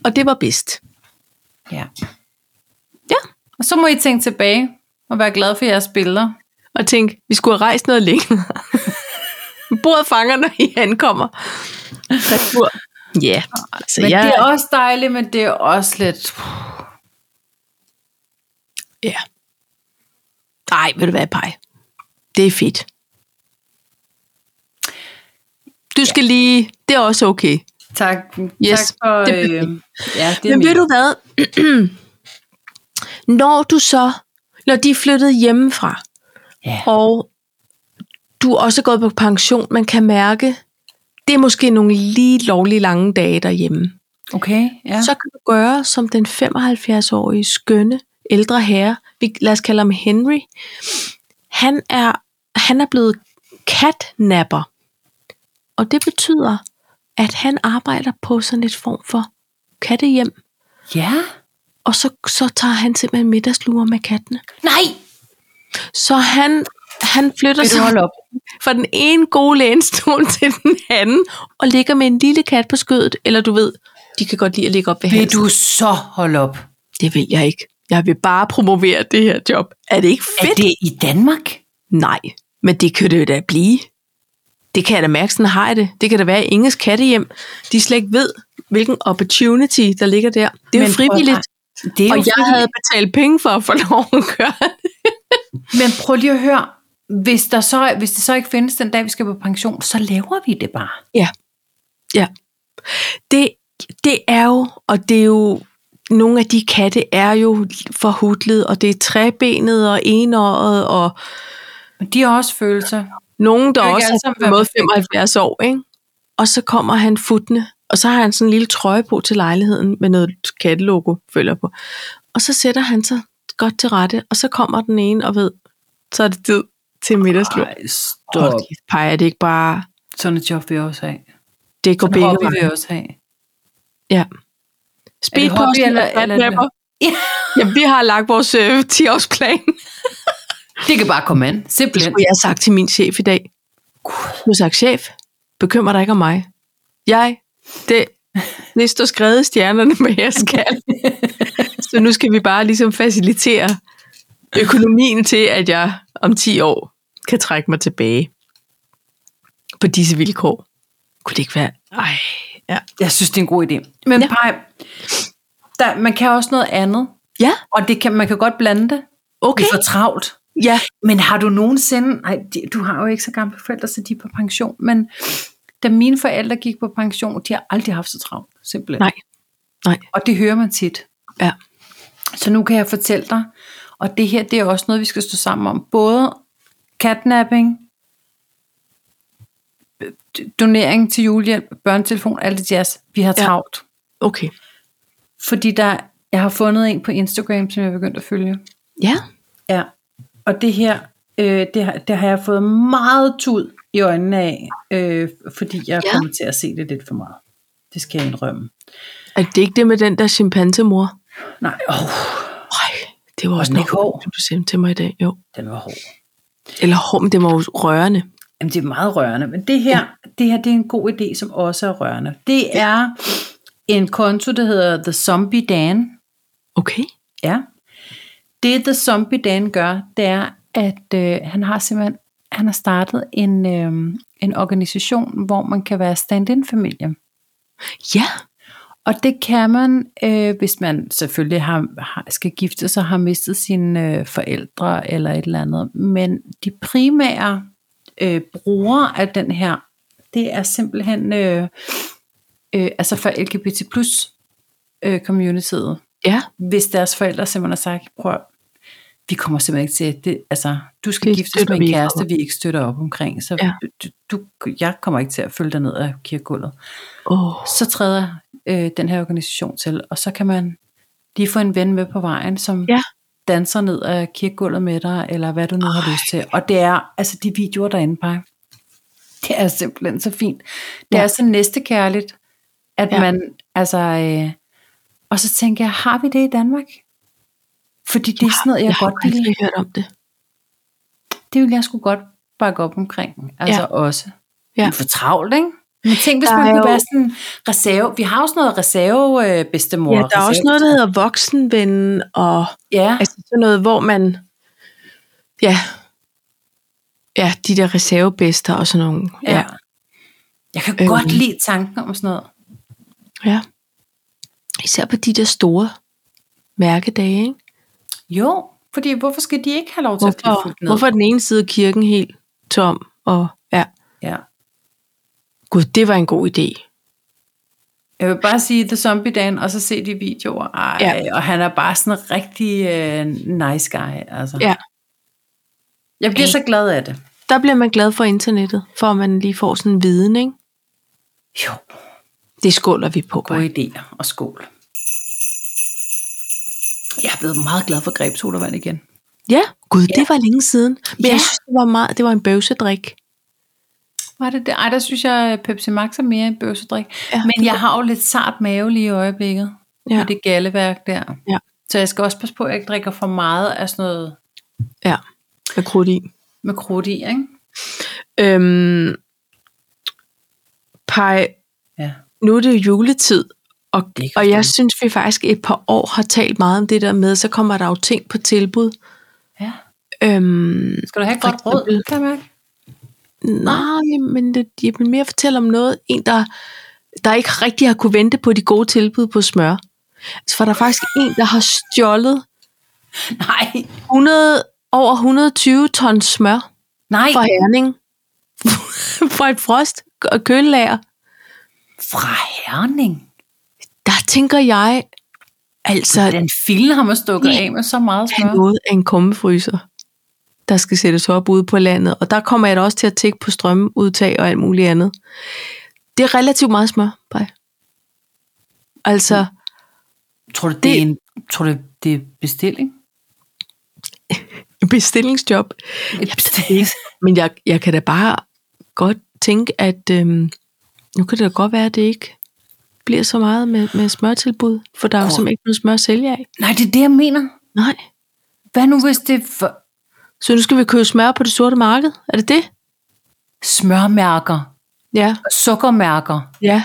B: og det var bedst.
A: Ja.
B: Ja.
A: Og så må I tænke tilbage og være glade for jeres billeder.
B: Og tænk, vi skulle have rejst noget længere. Bordet fanger, når I ankommer. Retur. Ja, så
A: Men
B: jeg,
A: det er også dejligt, men det er også lidt...
B: ja. Nej, vil du være pej? Det er fedt. Du skal lige, det er også okay.
A: Tak,
B: Yes,
A: tak for...
B: det
A: øh,
B: er
A: ja, det er
B: Men ved
A: mit.
B: du hvad? når du så, når de er flyttet hjemmefra,
A: Ja.
B: og du er også gået på pension, man kan mærke, det er måske nogle lige lovlige lange dage derhjemme.
A: Okay, ja.
B: Ja. Så kan du gøre som den 75-årige skønne ældre herre, vi, lad os kalde ham Henry. Han er, han er blevet catnapper. Og det betyder, at han arbejder på sådan et form for kattehjem,
A: ja.
B: Og så, så tager han simpelthen middagslure med kattene.
A: Nej!
B: Så han, han flytter
A: Vil du
B: sig
A: holde op?
B: fra den ene gode lænestol til den anden, og ligger med en lille kat på skødet, eller du ved, de kan godt lide at ligge op ved
A: Vil
B: halsen.
A: du så holde op?
B: Det vil jeg ikke. Jeg vil bare promovere det her job. Er det ikke
A: Er
B: fedt?
A: det i Danmark?
B: Nej, men det kan det jo da blive. Det kan jeg da mærke, sådan har jeg det. Det kan da være, at Inges kattehjem, de slet ikke ved, hvilken opportunity, der ligger der. Det er
A: Men
B: jo
A: prøv-
B: frivilligt,
A: Det er
B: og
A: jo
B: jeg havde betalt penge for at få lov at gøre det.
A: Men prøv lige at høre, hvis, der så, hvis det så ikke findes den dag, vi skal på pension, så laver vi det bare.
B: det, det er jo, og det er jo, nogle af de katte er jo forhudlet, og det er trebenet og enåret, og
A: Men de har også følelser.
B: nogen, der
A: Kan jo ikke
B: også
A: alle sammen
B: er på
A: være
B: en måde
A: perfekte.
B: 75 år, ikke? Og så kommer han futtende, og så har han sådan en lille trøje på til lejligheden med noget kattelogo følger på. Og så sætter han sig godt til rette, og så kommer den ene og ved, så er det tid til middagslur.
A: Ej,
B: Hold
A: stop.
B: kæft, peger det ikke bare,
A: Sådan et job vil jeg også have.
B: det går
A: Sådan
B: begge
A: et hobby vil
B: veje.
A: jeg også have.
B: Speedposten
A: eller-
B: og
A: eller-
B: fatnapper.
A: Ja.
B: Ja, vi har lagt vores øh, 10-årsplan.
A: Det kan bare komme an.
B: Det
A: Simpelthen.
B: skulle jeg have sagt til min chef i dag.
A: Gud.
B: Du har sagt, chef, bekymrer dig ikke om mig. Jeg, det, det står skrevet i stjernerne, hvad jeg skal. Så nu skal vi bare ligesom facilitere økonomien til, at jeg om 10 år kan trække mig tilbage på disse vilkår. Kunne det ikke være? Ej, ja.
A: Jeg synes, det er en god idé. Men
B: Ja.
A: ja. Paj, der, man kan også noget andet.
B: Ja,
A: Og det kan, man kan godt blande det.
B: okay.
A: Det er for travlt.
B: Ja,
A: Men har du nogensinde... Ej, de- du har jo ikke så gamle forældre, så de er på pension. Men da mine forældre gik på pension, de har aldrig haft så travlt. Simpelthen.
B: Nej. Nej.
A: Og det hører man tit.
B: Ja.
A: Så nu kan jeg fortælle dig, og det her, det er også noget, vi skal stå sammen om. Både catnapping, øh, donering til julehjælp, børnetelefon, alt det jazz. Vi har
B: Ja.
A: travlt.
B: okay.
A: Fordi der, jeg har fundet en på Instagram, som jeg er begyndt at følge.
B: Ja,
A: Ja. Og det her, øh, det, har, det har jeg fået meget tud i øjnene af, øh, fordi jeg
B: Ja.
A: ja. kommer til at se det lidt for meget. Det skal jeg indrømme.
B: er det ikke det med den der chimpansemor?
A: Nej, åh,
B: Ej, det var også
A: den ikke
B: noget,
A: hård?
B: du sendte til mig i dag. Jo.
A: den var hård.
B: Eller hår, men det var jo rørende.
A: Jamen, det er meget rørende, men det her, ja. det her det er en god idé, som også er rørende. Det er en konto, der hedder The Zombie Dan.
B: Okay.
A: Ja. Det, The Zombie Dan gør, det er, at øh, han har simpelthen han har startet en, øh, en organisation, hvor man kan være stand-in-familie.
B: Ja.
A: Og det kan man, øh, hvis man selvfølgelig har, har, skal gifte sig, har mistet sine øh, forældre eller et eller andet. Men de primære øh, brugere af den her, det er simpelthen øh, øh, altså for LGBT plus øh, communityet.
B: Ja.
A: Hvis deres forældre simpelthen har sagt, prøv at- vi kommer simpelthen ikke til, det, altså, du skal
B: Det
A: giftes
B: støtter
A: med
B: vi
A: en
B: ikke
A: kæreste,
B: op.
A: vi ikke støtter op omkring, så
B: Ja.
A: du, du, jeg kommer ikke til at følge dig ned af kirkegulvet
B: Oh.
A: så træder øh, den her organisation til, og så kan man lige få en ven med på vejen, som
B: Ja.
A: danser ned af kirkegulvet med dig, eller hvad du nu har
B: Ej.
A: lyst til. Og det er, altså de videoer derinde bare, det er simpelthen så fint. Det
B: Ja.
A: ja. er så næstekærligt, at
B: Ja.
A: ja. man, altså, øh, og så tænker jeg, har vi det i Danmark? Fordi det er sådan noget, jeg,
B: jeg
A: jeg godt
B: har
A: kan lide.
B: aldrig hørt om det.
A: Det ville jeg sgu godt bakke op omkring. Altså ja.
B: Ja.
A: også.
B: Ja.
A: Ja. Det er for travlt, ikke? Men tænk, hvis
B: Der
A: der
B: er
A: man kunne
B: jo-
A: være sådan en reserve. Vi har også noget reserve øh, bedstemor.
B: Ja, der er også
A: reserve-
B: noget, der hedder voksenven, og
A: Ja,
B: altså sådan noget, hvor man, ja, ja, de der reservebedster og sådan nogle.
A: ja. Jeg kan
B: Øhm.
A: øhm. godt lide tanken om sådan noget.
B: ja. Især på de der store mærkedage, ikke?
A: Jo, fordi hvorfor skal de ikke have lov til at blive fuldt
B: Hvorfor,
A: ned?
B: hvorfor er den ene side af kirken helt tom? Og, ja.
A: Ja.
B: Gud, det var en god idé.
A: Jeg vil bare sige The Zombie Dan, og så se de videoer. Ej,
B: Ja.
A: ja. Og han er bare sådan en rigtig øh, nice guy. Altså.
B: Ja.
A: Jeg bliver
B: Ej.
A: så glad af det.
B: Der bliver man glad for internettet, for at man lige får sådan en viden, ikke?
A: Jo,
B: Det skåler vi på.
A: gode idéer og skål. Jeg er blevet meget glad for grebsodavand igen.
B: Ja, gud, ja. det var længe siden. Men ja.
A: Ja.
B: jeg synes, det var, meget, det var en bøvsedrik.
A: Var det det? Ej, der synes jeg, Pepsi Max er mere en bøvsedrik.
B: Ja.
A: Men jeg har jo lidt sart mave lige i øjeblikket.
B: Ja.
A: Ja. I det galleværk der.
B: Ja.
A: Så jeg skal også passe på, at jeg ikke drikker for meget af sådan noget
B: Ja, med krudt i.
A: med krudt i, ikke?
B: Øhm, pej,
A: Ja.
B: nu er det jo juletid, og,
A: Det er ikke
B: og jeg
A: forstået.
B: synes, vi faktisk et par år har talt meget om det der med, så kommer der jo ting på tilbud.
A: ja.
B: Øhm,
A: Skal du have et
B: For
A: godt råd,
B: eksempel-
A: kan jeg mærke?
B: nej, men det, jeg vil mere fortælle om noget, en der, der ikke rigtig har kunne vente på de gode tilbud på smør. Altså, For der er faktisk en, der har stjålet
A: Nej,
B: 100, over 120 ton smør
A: nej.
B: fra Herning fra et frost og kølelager.
A: Fra Herning.
B: Der tænker jeg, altså,
A: Den filde har man stukket af med så meget
B: er
A: smør.
B: noget af en kummefryser, der skal sættes op ude på landet. Og der kommer jeg da også til at tænke på strømudtag og alt muligt andet. Det er relativt meget smør, bare. Altså,
A: Tror du, det, er en, tror du, det er bestilling?
B: Mm. bestillingsjob.
A: Et bestilling.
B: Men jeg, jeg kan da bare godt tænke, at øhm, nu kan det da godt være, at det ikke bliver så meget med, med smørtilbud, for der er jo
A: Kort.
B: simpelthen ikke noget smør at sælge af.
A: Nej, det er det, jeg mener.
B: Nej.
A: Hvad nu, hvis det er for
B: Så nu skal vi købe smør på det sorte marked? Er det det?
A: smørmærker,
B: Ja.
A: sukkermærker?
B: Ja.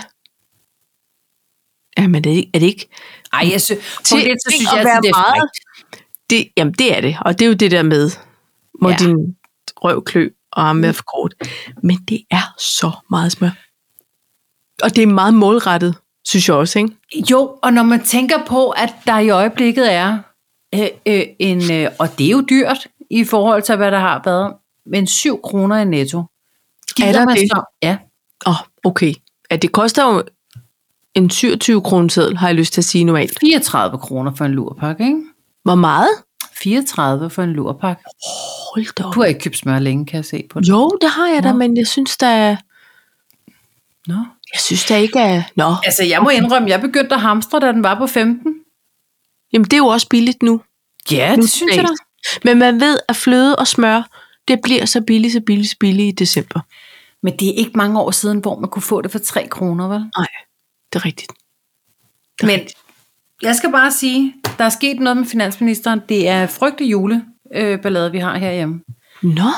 B: Jamen, er det ikke, er det ikke
A: Ej, jeg sy- til, det, så
B: ikke
A: synes
B: at
A: jeg, altså,
B: være
A: det er
B: meget-
A: frækt.
B: Det, jamen, det er det. Og det er jo det der med, må
A: Ja.
B: ja. Mm. din røv klø og arme være for kort. Men det er så meget smør. Og det er meget målrettet, synes jeg også, ikke?
A: Jo, og når man tænker på, at der i øjeblikket er øh, øh, en, øh, og det er jo dyrt i forhold til, hvad der har været, men 7 kroner i netto.
B: Er der
A: man
B: det?
A: Så, ja,
B: Åh, oh, okay. Ja, det koster jo en 27 kroner seddel, har jeg lyst til at sige normalt.
A: 34 kroner for en lurpakke, ikke?
B: Hvor meget?
A: 34 for en lurpakke.
B: Hold da op.
A: Du har ikke købt smør længe, kan jeg se på det.
B: Jo, det har jeg da,
A: Nå.
B: men jeg synes da,
A: Nå.
B: jeg synes da ikke, at... Nå,
A: Altså, jeg må indrømme, jeg begyndte at hamstre, da den var på 15.
B: jamen det er jo også billigt nu.
A: Ja,
B: Nu
A: det synes jeg da.
B: Men man ved, at fløde og smør, det bliver så billigt, så billigt, så billigt i december.
A: Men det er ikke mange år siden, hvor man kunne få det for 3 kroner, vel?
B: Nej, det er rigtigt. Det er
A: Men jeg skal bare sige, der er sket noget med finansministeren. Det er frygtelig juleballade, vi har herhjemme.
B: Nå,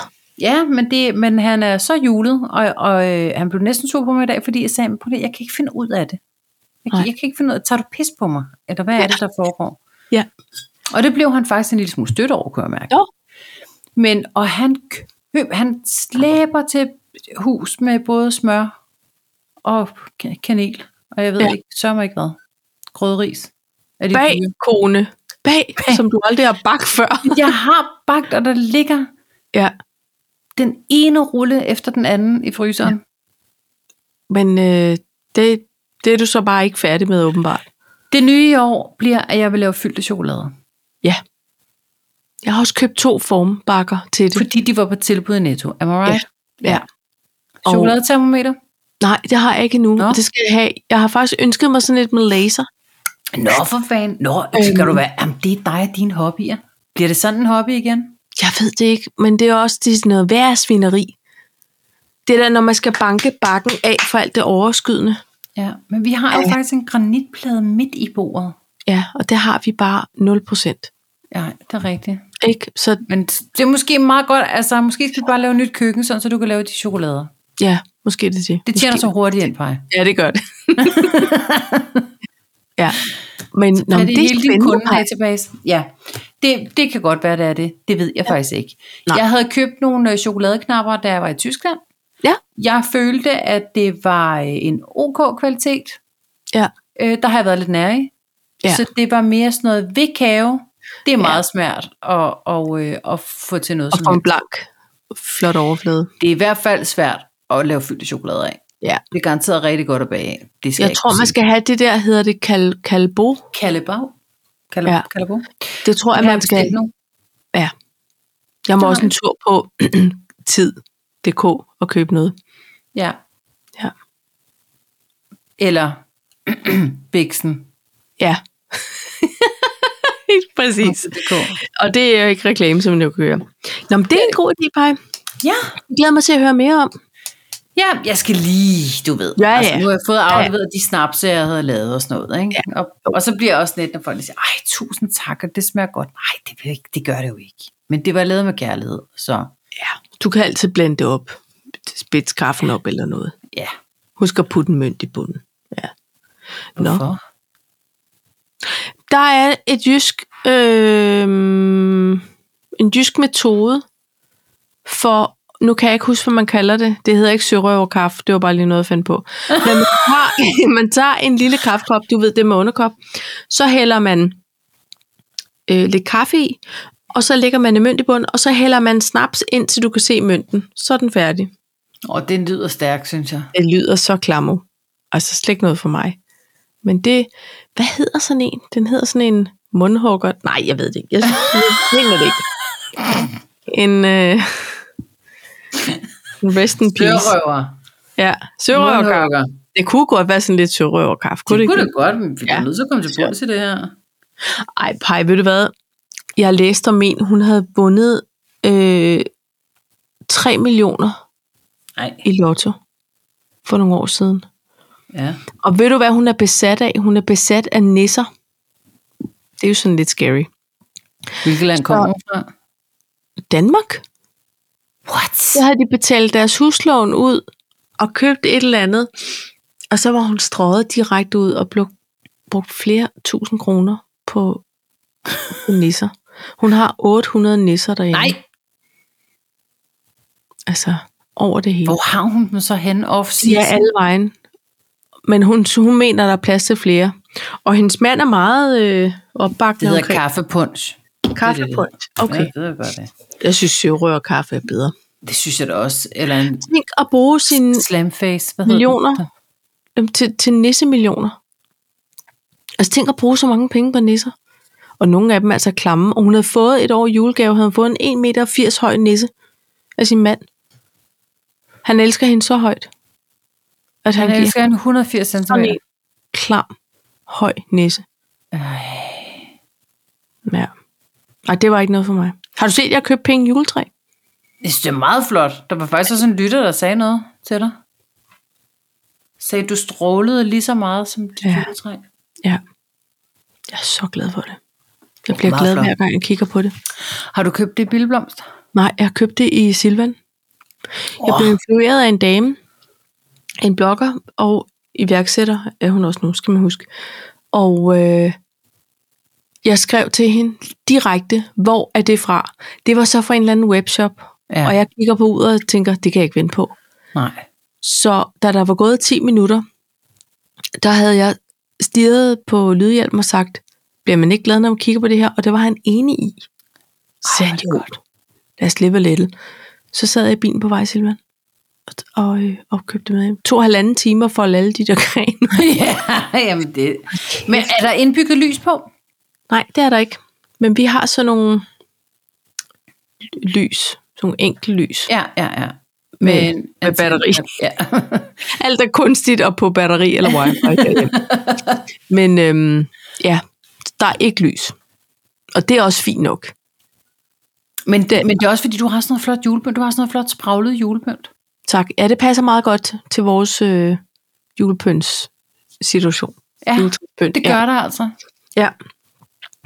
A: Ja, men, det, men han er så julet, og, og øh, han blev næsten sur på mig i dag, fordi jeg sagde, "Men prøv lige, jeg kan ikke finde ud af det. Jeg kan,
B: Nej.
A: jeg kan ikke finde ud af, tager du pis på mig? Eller hvad er det, der foregår?
B: Ja.
A: Og det blev han faktisk en lille smule støtte over, kunne jeg mærke.
B: Nå.
A: Men, og han, køb, han slæber til hus med både smør og ka- kanel, og jeg ved ja.
B: Ja.
A: ikke, sørger mig ikke hvad. Grødris. Er det
B: bag kone. Bag,
A: Bag.
B: som du aldrig har bagt før.
A: Jeg har bagt, og der ligger
B: Ja,
A: den ene rulle efter den anden i fryseren.
B: men øh, det, det er du så bare ikke færdig med, åbenbart.
A: Det nye i år bliver, at jeg vil lave fyldte chokolader.
B: Jeg har også købt to formbakker til det.
A: Fordi de var på tilbud i Netto. Am I right?
B: Ja, ja.
A: Og- Chokoladetermometer?
B: Nej, det har jeg ikke endnu.
A: Nå.
B: Nå. Det skal jeg have. Jeg har faktisk ønsket mig sådan lidt med laser.
A: Nå, for fanden. Nå, skal
B: Øhm.
A: du være... Jamen, det er dig og dine hobbyer. Bliver det sådan en hobby igen?
B: Jeg ved det ikke, men det er også det er sådan noget værre svineri. Det der, når man skal banke bakken af for alt det overskydende.
A: Ja, men vi har jo
B: Ja.
A: faktisk en granitplade midt i bordet.
B: Ja, og det har vi bare 0%.
A: Ja, det er rigtigt.
B: Ikke? Så
A: Men det er måske meget godt, altså måske skal vi bare lave et nyt køkken, sådan, så du kan lave de chokolader.
B: ja, måske er det det.
A: Det tjener
B: måske.
A: så hurtigt ind på mig.
B: Ja, det gør det. ja. Men, nå,
A: Nå, er
B: men
A: det,
B: det er
A: hele din
B: spændende. Maja.
A: kundedatabase? Ja, det, det kan godt være, det er det. Det ved jeg ja. faktisk ikke. Nej.
B: Nej.
A: Jeg havde købt nogle øh, chokoladeknapper, da jeg var i Tyskland.
B: Ja.
A: Jeg følte, at det var øh, en ok kvalitet.
B: Ja.
A: Øh, der har jeg været lidt nær i.
B: Ja.
A: Så det var mere sådan noget ved kave. Det er meget smart at, og, øh, at få til noget
B: Og
A: som
B: få en
A: helst.
B: blank, flot overflade.
A: Det er i hvert fald svært at lave fyldte chokolader af.
B: Ja.
A: Det er garanteret rigtig godt at bage af. Det skal
B: Jeg tror, man skal have det der, hedder det kal- kalbo.
A: Kalebag. Kalebag.
B: Ja.
A: Ja. Kalebag.
B: Det tror jeg, man skal
A: Nu.
B: Jeg må
A: Det har
B: også en tur på tid.dk og købe noget.
A: Ja.
B: Ja.
A: Eller Bixen.
B: Ja. Præcis. Og det er jo ikke Øh. reklame, som du kan høre. Nå, men det er en god idé, Paj.
A: Ja,
B: Jeg glæder mig til at høre mere om.
A: Ja, jeg skal lige, du ved.
B: Ja, ja.
A: Altså, nu har jeg fået
B: ja.
A: afleveret de snapse, jeg havde lavet og sådan noget. Ikke? Ja. Og, og, så bliver jeg også lidt, når folk siger, ej, tusind tak, og det smager godt. Nej, det, vil ikke, det gør det jo ikke. Men det var lavet med kærlighed, så
B: Ja, du kan altid blande det op. Spids kaffen op eller noget.
A: ja,
B: Husk at putte en mønt i bunden. Ja. Nå.
A: hvorfor? No.
B: Der er et jysk, øh, en jysk metode for, nu kan jeg ikke huske, hvad man kalder det. Det hedder ikke sørøverkaffe, det var bare lige noget at finde på. Når man tager, man tager en lille kaffekop, du ved det med underkop, så hælder man øh, lidt kaffe i, og så lægger man en mønt i bunden, og så hælder man snaps ind, til du kan se mønten. Så er den færdig.
A: Og den lyder stærk, synes jeg.
B: Det lyder så klammer. Altså slet ikke noget for mig. Men det, hvad hedder sådan en? Den hedder sådan en mundhugger. Nej, jeg ved det ikke. Jeg mener det ikke. En, øh, en rest in peace.
A: Sørøver.
B: Ja, sørøverkaffe.
A: Mundhuggere.
B: Det kunne godt være sådan lidt sørøverkaffe. Kunne det,
A: Det kunne
B: ikke?
A: det godt, men vi er
B: Ja.
A: nødt til at komme til bunds i det her.
B: Ej, Paj, ved du hvad? Jeg læste om en, hun havde vundet øh, 3 millioner
A: Nej,
B: i lotto for nogle år siden.
A: ja.
B: Og ved du, hvad hun er besat af? Hun er besat af nisser. Det er jo sådan lidt scary.
A: Hvilket land kommer hun fra?
B: Danmark?
A: What?
B: Så havde de betalt deres huslån ud og købt et eller andet. Og så var hun strøget direkte ud og blev brugt flere tusind kroner på nisser. Hun har 800 nisser derinde.
A: Nej,
B: Altså, over det hele.
A: hvor har hun dem så hen off
B: Ja, alle vejen. Men hun, hun mener, der er plads til flere. Og hendes mand er meget øh,
A: Det
B: opbakende
A: hedder
B: omkring
A: kaffepunch.
B: kaffepunch. Okay.
A: Ja, det er godt det.
B: Jeg synes, sørør kaffe er bedre.
A: Det synes jeg da også. Eller en
B: Tænk at bruge sine
A: slamface. Hvad
B: Millioner.
A: Hedder
B: Jamen, til, til nissemillioner. Altså tænk at bruge så mange penge på nisser. Og nogle af dem er altså klamme. Og hun havde fået et år i julegave, havde hun fået en 1,80 meter høj nisse af sin mand. Han elsker hende så højt, at han,
A: den?
B: han
A: Han
B: giver
A: elsker en 180 cm.
B: sådan en klam, høj nisse. Ja. Nej, det var ikke noget for mig. Har du set, at jeg købte penge juletræ?
A: Jeg synes, det er meget flot. Der var faktisk også en lytter, der sagde noget til dig. Sagde, du strålede lige så meget som dit
B: Ja.
A: ja. juletræ.
B: Ja. Jeg er så glad for det. Jeg bliver
A: Meget
B: glad
A: flot.
B: hver gang, jeg kigger på det.
A: Har du købt det billedblomst?
B: Nej, jeg købte det i Silvan. Jeg
A: Åh.
B: blev influeret af en dame, en blogger og iværksætter, er hun også nu, skal man huske. Og øh, jeg skrev til hende direkte, hvor er det fra? Det var så fra en eller anden webshop,
A: Ja.
B: ja. og jeg kigger på uret og tænker, det kan jeg ikke vente på.
A: Nej.
B: Så da der var gået 10 minutter, der havde jeg stirret på lydhjælpen og sagt, bliver man ikke glad, når man kigger på det her? Og det var han enig i. Så sagde han,
A: hvor er det
B: det godt. Lad os slippe lidt. Så sad jeg i bilen på vej, Silvan, og, og, øh, og købte det med hjem. To og halvanden timer for at lade alle de der grene.
A: ja, jamen det. Men er der indbygget lys på?
B: Nej, det er der ikke. Men vi har sådan nogle lys. Sådan nogle enkelt lys.
A: Ja, ja, ja.
B: Med- med
A: antenne-
B: batteri.
A: Ja.
B: Alt er kunstigt og på batteri eller wifi derhjemme. Men øhm, ja, der er ikke lys. Og det er også fint nok.
A: men, det, men det er også fordi, du har sådan noget flot julepynt. Du har sådan noget flot spraglet julepynt.
B: Tak. Ja, det passer meget godt til vores øh, julepøns situation.
A: Ja,
B: Juletræspynt,
A: det gør ja. der altså.
B: Ja. ja.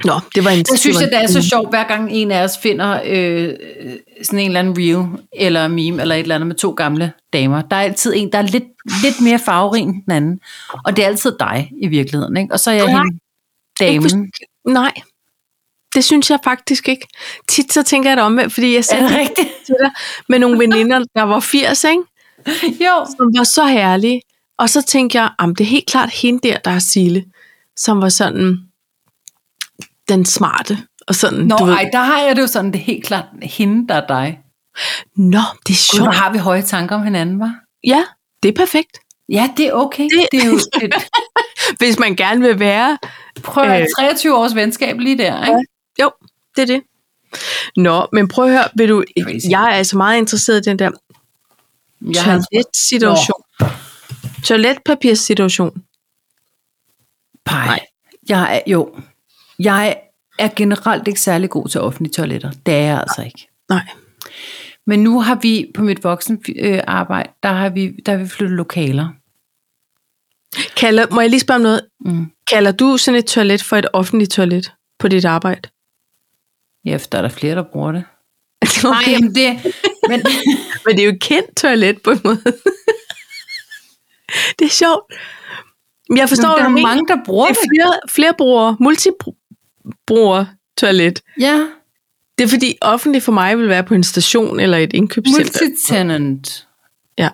B: Nå, det var en... Mm.
A: Jeg synes,
B: var
A: at
B: en-
A: det er så sjovt, hver gang en af os finder øh, sådan en eller anden reel eller meme eller et eller andet med to gamle damer. Der er altid en, der er lidt, lidt mere farverig end den anden. Og det er altid dig i virkeligheden. Ikke? Og så er jeg
B: Nej.
A: hende
B: Ikke hvis-
A: damen.
B: Nej, det synes jeg faktisk ikke. Tit så tænker jeg det omvendt, fordi jeg
A: Er
B: sendte
A: det rigtigt?
B: til dig med nogle veninder, der var 80, ikke?
A: Jo.
B: som var så herlige. Og så tænkte jeg, om det er helt klart hende der, der er Sille, som var sådan den smarte. Og sådan,
A: Nå,
B: du ved,
A: ej, der har jeg det jo sådan, det er helt klart hende, der er dig.
B: Nå, det er
A: Gud,
B: sjovt.
A: hvor har vi høje tanker om hinanden, var?
B: Ja, det er perfekt.
A: Ja, det er okay. Det,
B: Det-
A: det er jo et,
B: Hvis man gerne vil være.
A: prøv at
B: Øh.
A: 23 års venskab lige der, ikke?
B: Jo, det er det. Nå, men prøv at høre, vil du,
A: Crazy.
B: jeg er altså meget interesseret i den der
A: Jeg har
B: toilet-situation. Toiletpapirssituation.
A: pej. Jeg er, jo, jeg er generelt ikke særlig god til offentlige toiletter. Det er jeg altså ikke.
B: Nej.
A: Men nu har vi på mit voksenarbejde, der har vi, der har vi flyttet lokaler.
B: Kalder, må jeg lige spørge om noget?
A: Mm.
B: Kalder du sådan et toilet for et offentligt toilet på dit arbejde?
A: Ja, for der er der flere, der bruger det. Nej, men det... Men,
B: Men det er jo et kendt toilet på en måde. det er sjovt. Men Jeg forstår,
A: men der
B: hvad
A: er
B: du mener.
A: mange, der bruger
B: det
A: det.
B: er flere, flere brugere, multibruger toilet.
A: Ja,
B: Det er fordi offentligt for mig vil være på en station eller et indkøbscenter.
A: multitenant
B: Ja.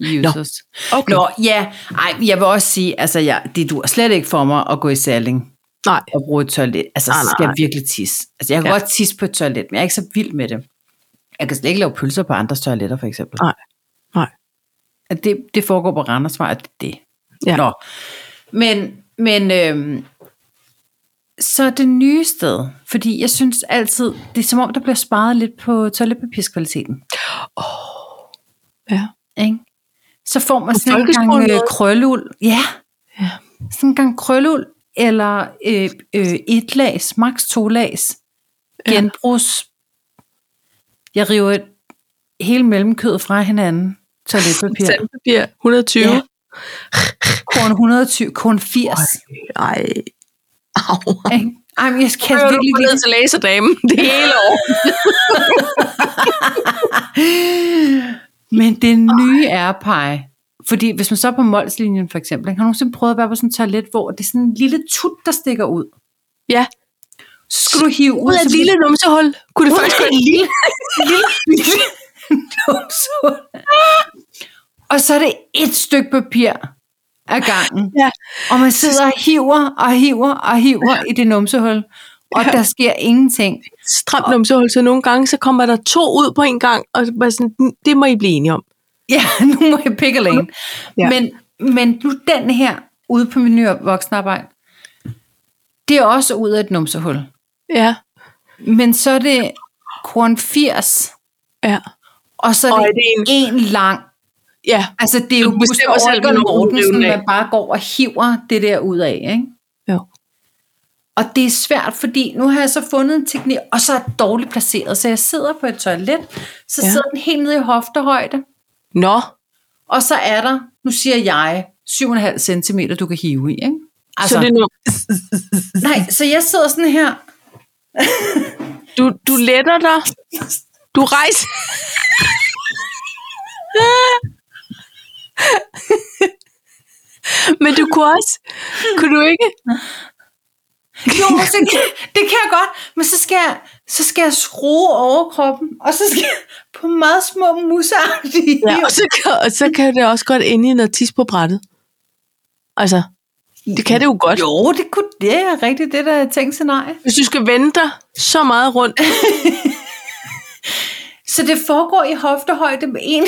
A: users.
B: Okay.
A: Nå, ja. Ej, jeg vil også sige, altså, jeg, det dur slet ikke for mig at gå i Salling
B: Nej,
A: og bruge et toilet. Altså,
B: Nej,
A: så skal
B: nej.
A: jeg virkelig tisse. Altså, jeg kan
B: Ja.
A: godt tisse på et toilet, men jeg er ikke så vild med det. Jeg kan slet ikke lave pølser på andres toiletter, for eksempel.
B: Nej, nej.
A: At Det, det foregår på Randersvej, at det er det.
B: Ja.
A: Nå. Men, men øhm, så det nye sted, fordi jeg synes altid, det er som om, der bliver sparet lidt på toiletpapirskvaliteten.
B: ja.
A: Ikke? Så får man
B: På
A: sådan en
B: folkeskolen
A: gang øh,
B: noget?
A: krølleuld. Ja.
B: Ja.
A: Sådan en gang krølleuld, eller øh, øh, et lags, maks to lags,
B: Ja.
A: genbrugs. Jeg river et, hele mellemkødet fra hinanden. Toiletpapir.
B: Sandpapir 120.
A: Ja. Korn 120, korn 80.
B: Ej. Au.
A: Ikke? Ej, men jeg kan
B: Hører du
A: virkelig,
B: på ned
A: virkelig...
B: til laserdamen det hele år?
A: Men det nye er pege. Fordi hvis man så er på Molslinjen for eksempel, ikke? har du nogensinde prøvet at være på sådan en toilet, hvor det er sådan en lille tut, der stikker ud.
B: Ja.
A: Så skal du hive ud,
B: Ud af
A: så
B: et
A: bliver
B: lille numsehul. Kunne det faktisk være en lille?
A: lille numsehul. Og så er det et stykke papir ad gangen.
B: Ja.
A: Og man sidder og hiver og hiver og hiver ja. i det numsehul. Og
B: Ja.
A: der sker ingenting.
B: Stramt numsehul, så nogle gange så kommer der to ud på en gang, og bare sådan, "Mm, det må I blive enige om.
A: Ja, nu må jeg pick a lane.
B: Ja.
A: Ja. Men, men nu den her ude på min nye voksenarbejde, det er også ud af et numsehul.
B: Ja.
A: Men så er det korn 80,
B: Ja.
A: og så er
B: Og
A: det,
B: er det en-
A: en lang
B: Ja.
A: Altså, det er jo
B: Du bestemmer
A: Gustav
B: selv,
A: Olger
B: hvornår du vil
A: Mortensen,
B: rive den af.
A: man bare går og hiver det der ud af, ikke?
B: Jo.
A: Og det er svært, fordi nu har jeg så fundet en teknik, og så er det dårligt placeret. Så jeg sidder på et toilet, så
B: Ja.
A: ja. sidder den helt nede i hoftehøjde,
B: Nå.
A: og så er der, nu siger jeg, 7,5 cm, du kan hive i, ikke?
B: Altså. Så det er nu.
A: nej, så jeg sidder sådan her.
B: Du, du letter dig. Du rejser. Men du kunne også, kunne du ikke?
A: Jo, men så, det kan jeg godt, men så skal jeg, så skal jeg skrue overkroppen, og så skal jeg på meget små musagtige
B: Ja, og så kan, og så kan det også godt ende i noget tis på brættet. Altså, det kan det jo godt.
A: Jo, det kunne det er rigtigt, det der er tænkt scenarie.
B: Hvis du skal vente dig så meget rundt.
A: Så det foregår i hoftehøjde med en,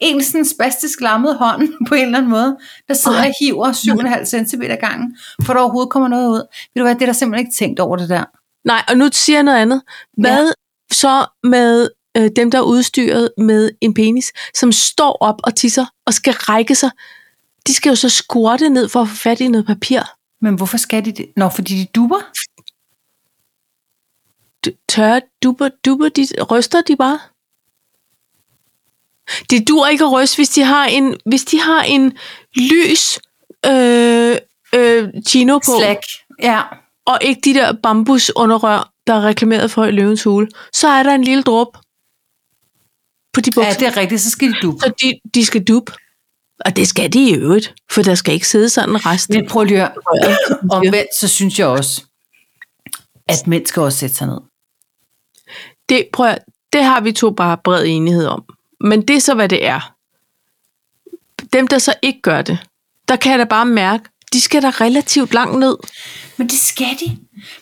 A: en sådan spastisk lammet hånd på en eller anden måde, der sidder
B: Ej.
A: og hiver 7,5 cm gangen, for der overhovedet kommer noget ud. Ved du hvad, det er der simpelthen ikke tænkt over det der.
B: Nej, og nu siger jeg noget andet. Hvad ja. så med øh, dem, der er udstyret med en penis, som står op og tisser og skal række sig? De skal jo så squatte ned for at få fat i noget papir.
A: Men hvorfor skal de det? Nå, fordi de duber?
B: D- tørre duber, duber, de ryster de bare. Det dur ikke at ryste, hvis de har en, hvis de har en lys øh, øh, chino på,
A: Slæk. Ja.
B: og ikke de der bambusunderrør, der er reklameret for i løvens hule, så er der en lille drop på de
A: ja,
B: bukser.
A: det er rigtigt, så skal de dupe.
B: Så de, de skal dup. Og det skal de i øvrigt, for der skal ikke sidde sådan resten.
A: Men prøv lige at høre.
B: Ja.
A: Omvendt, så synes jeg også, at mænd skal også sætte sig ned.
B: Det, prøv at, det har vi to bare bred enighed om. Men det er så, hvad det er. Dem, der så ikke gør det, der kan jeg da bare mærke, de skal da relativt langt ned.
A: Men det skal de.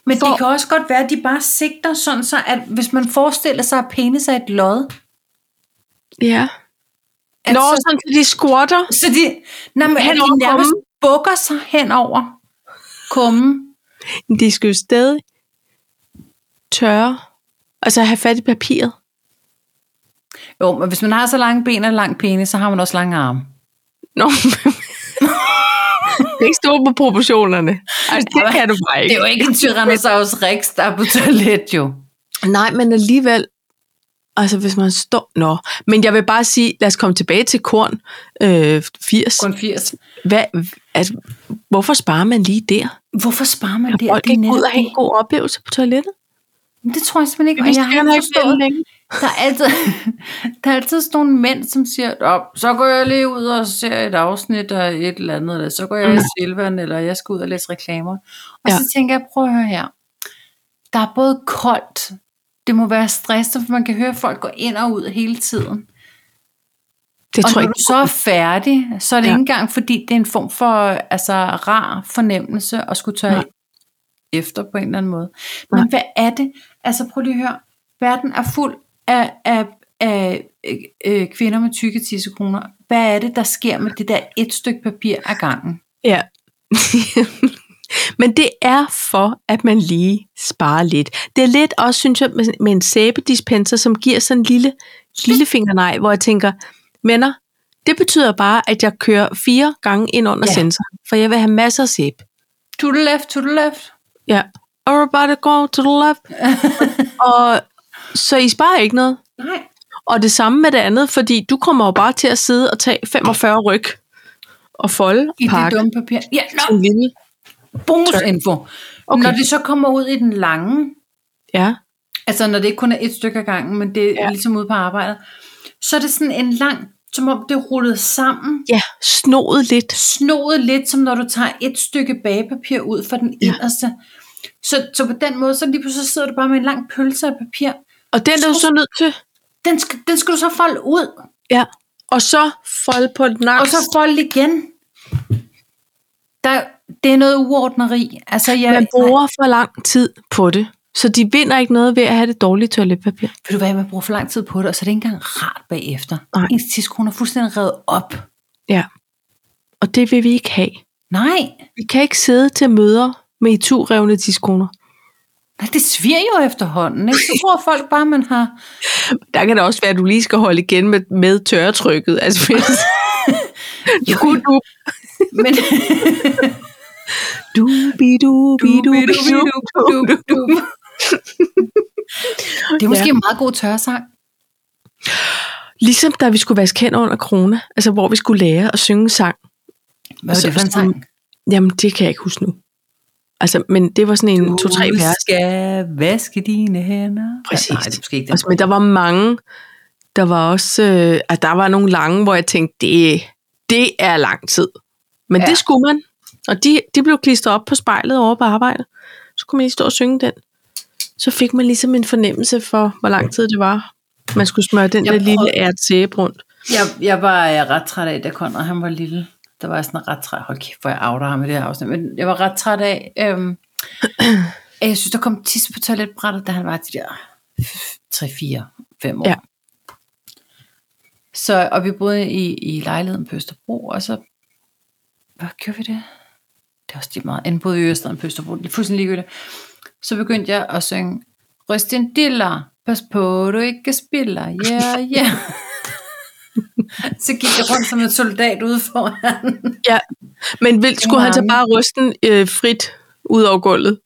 A: Men
B: For-
A: det kan også godt være, at de bare sigter sådan så, at hvis man forestiller sig, at penis er et lod,
B: Ja.
A: at
B: Nå,
A: så,
B: sådan, så de squatter.
A: så de, nej, men, at
B: Henover
A: de nærmest
B: kummen.
A: bukker sig henover kummen.
B: De skal jo stadig tørre. Altså have fat i papiret.
A: Jo, men hvis man har så lange ben og lang penis, så har man også lange arme.
B: Nå. det er ikke stå på proportionerne. Altså, det kan du bare
A: Det
B: ikke.
A: er jo ikke en Tyrannosaurus rex, der er på toilet jo.
B: Nej, men alligevel, Altså, hvis man står... Nå, men jeg vil bare sige, lad os komme tilbage til korn øh, 80.
A: Kun 80.
B: Hvad, altså, hvorfor sparer man lige der?
A: Hvorfor sparer man det?
B: Det folk
A: det
B: ikke ud og have en god oplevelse på toilettet?
A: Men Det tror jeg simpelthen ikke,
B: Det
A: og
B: vidste
A: jeg har
B: jeg
A: ikke
B: nok ikke
A: forstået.
B: længe.
A: Der er, altid, der er altid sådan nogle mænd, som siger, Nå, så går jeg lige ud og ser et afsnit af et eller andet, eller så går jeg i Silvan, eller jeg skal ud og læse reklamer. Og ja.
B: Mm. Ja.
A: så tænker jeg, prøv at høre her. Der er både koldt, det må være stressende, for man kan høre, at folk går ind og ud hele tiden.
B: Det
A: og når
B: tror jeg
A: du
B: ikke.
A: så er færdig, så er det ja.
B: Ja.
A: ikke engang, fordi det er en form for altså, rar fornemmelse at skulle tørre
B: Nej.
A: efter på en eller anden måde. Men Nej. hvad er det? Altså prøv lige at høre. Verden er fuld af, af, af øh, øh, kvinder med tykke tissekroner. Hvad er det, der sker med det der et stykke papir ad gangen?
B: Ja. Men det er for, at man lige sparer lidt. Det er lidt også, synes jeg, med med en sæbedispenser, som giver sådan en lille, lille fingernej, hvor jeg tænker, venner, det betyder bare, at jeg kører fire gange ind under
A: Ja.
B: ja. sensoren, for jeg vil have masser af sæbe.
A: To the left, to the left.
B: Ja. Everybody go to the left. og, så I sparer ikke noget.
A: Nej.
B: Og det samme med det andet, fordi du kommer jo bare til at sidde og tage 45 ryg og folde
A: I
B: og pakke.
A: det dumme papir. Ja, nå,
B: En lille.
A: bonusinfo. Okay.
B: Okay.
A: Når det så kommer ud i den lange,
B: Ja.
A: Altså når det ikke kun er et stykke af gangen, men det er ja.
B: Ja.
A: ligesom ude på arbejdet. Så er det sådan en lang, som om det er rullet sammen,
B: ja, snoet lidt.
A: snoet lidt, som når du tager et stykke bagepapir ud fra den
B: Ja.
A: inderste. Så, så på den måde, så lige pludselig så sidder du bare med en lang pølse af papir.
B: Og den er du så nødt til.
A: Den skal, den skal du så folde ud,
B: Ja. Og så folde på den
A: og
B: aks.
A: så folde igen. Der, det er noget uordneri. Altså, jeg,
B: man bruger for lang tid på det. Så de vinder ikke noget ved at have det dårlige toiletpapir.
A: ved du hvad, man bruger for lang tid på det, og så er det ikke engang rart bagefter.
B: Nej.
A: Ens tidskone er fuldstændig revet op.
B: Ja. Og det vil vi ikke have.
A: Nej,
B: Vi kan ikke sidde til møder med i turrevne diskoner.
A: Nej, det sviger jo efterhånden, ikke? Så tror folk bare, man har...
B: Der kan det også være, at du lige skal holde igen med, med tørretrykket. Altså, hvis... du, du,
A: Men,
B: Du, bi, du, bi, du, bi, du, du, du, du.
A: det er måske en meget god tørresang.
B: Ligesom da vi skulle vaske hænder under corona, altså hvor vi skulle lære at synge sang.
A: Hvad er
B: Så-
A: det for en
B: så-
A: sang?
B: Jamen, det kan jeg ikke huske nu. Altså, men det var sådan en to-tre vers.
A: skal vaske dine hænder.
B: Præcis.
A: Nej, det er måske ikke
B: Altså,
A: det.
B: men der var mange, der var også, øh, at der var nogle lange, hvor jeg tænkte, det, det er lang tid. Men
A: Ja.
B: ja. det skulle man. Og de, de blev klistret op på spejlet over på arbejde. Så kunne man lige stå og synge den. Så fik man ligesom en fornemmelse for, hvor lang tid det var, man skulle smøre den
A: Jeg
B: der lille
A: prøvede-
B: ært sæbe rundt.
A: Jeg, jeg var øh, ret træt af, da Conrad han var lille. Der var jeg sådan ret træt. Hold kæft, hvor jeg outer ham i det her afsnit. Men jeg var ret træt af... Øhm, at jeg synes, der kom tis på toiletbrættet, da han var de der 3, 4, 5 år.
B: Ja.
A: Så, og vi boede i, i lejligheden på Østerbro, og så... Hvad gjorde vi det? Det er også lige meget. Enten boede vi i Østeren på Østerbro. Det er fuldstændig ligegyldigt. Så begyndte jeg at synge Ryst din diller, pas på, du ikke spiller, yeah, yeah. så gik jeg rundt som en soldat ude foran.
B: Ja, men vil, skulle han så
A: mange.
B: bare ryste den øh, frit ud over gulvet?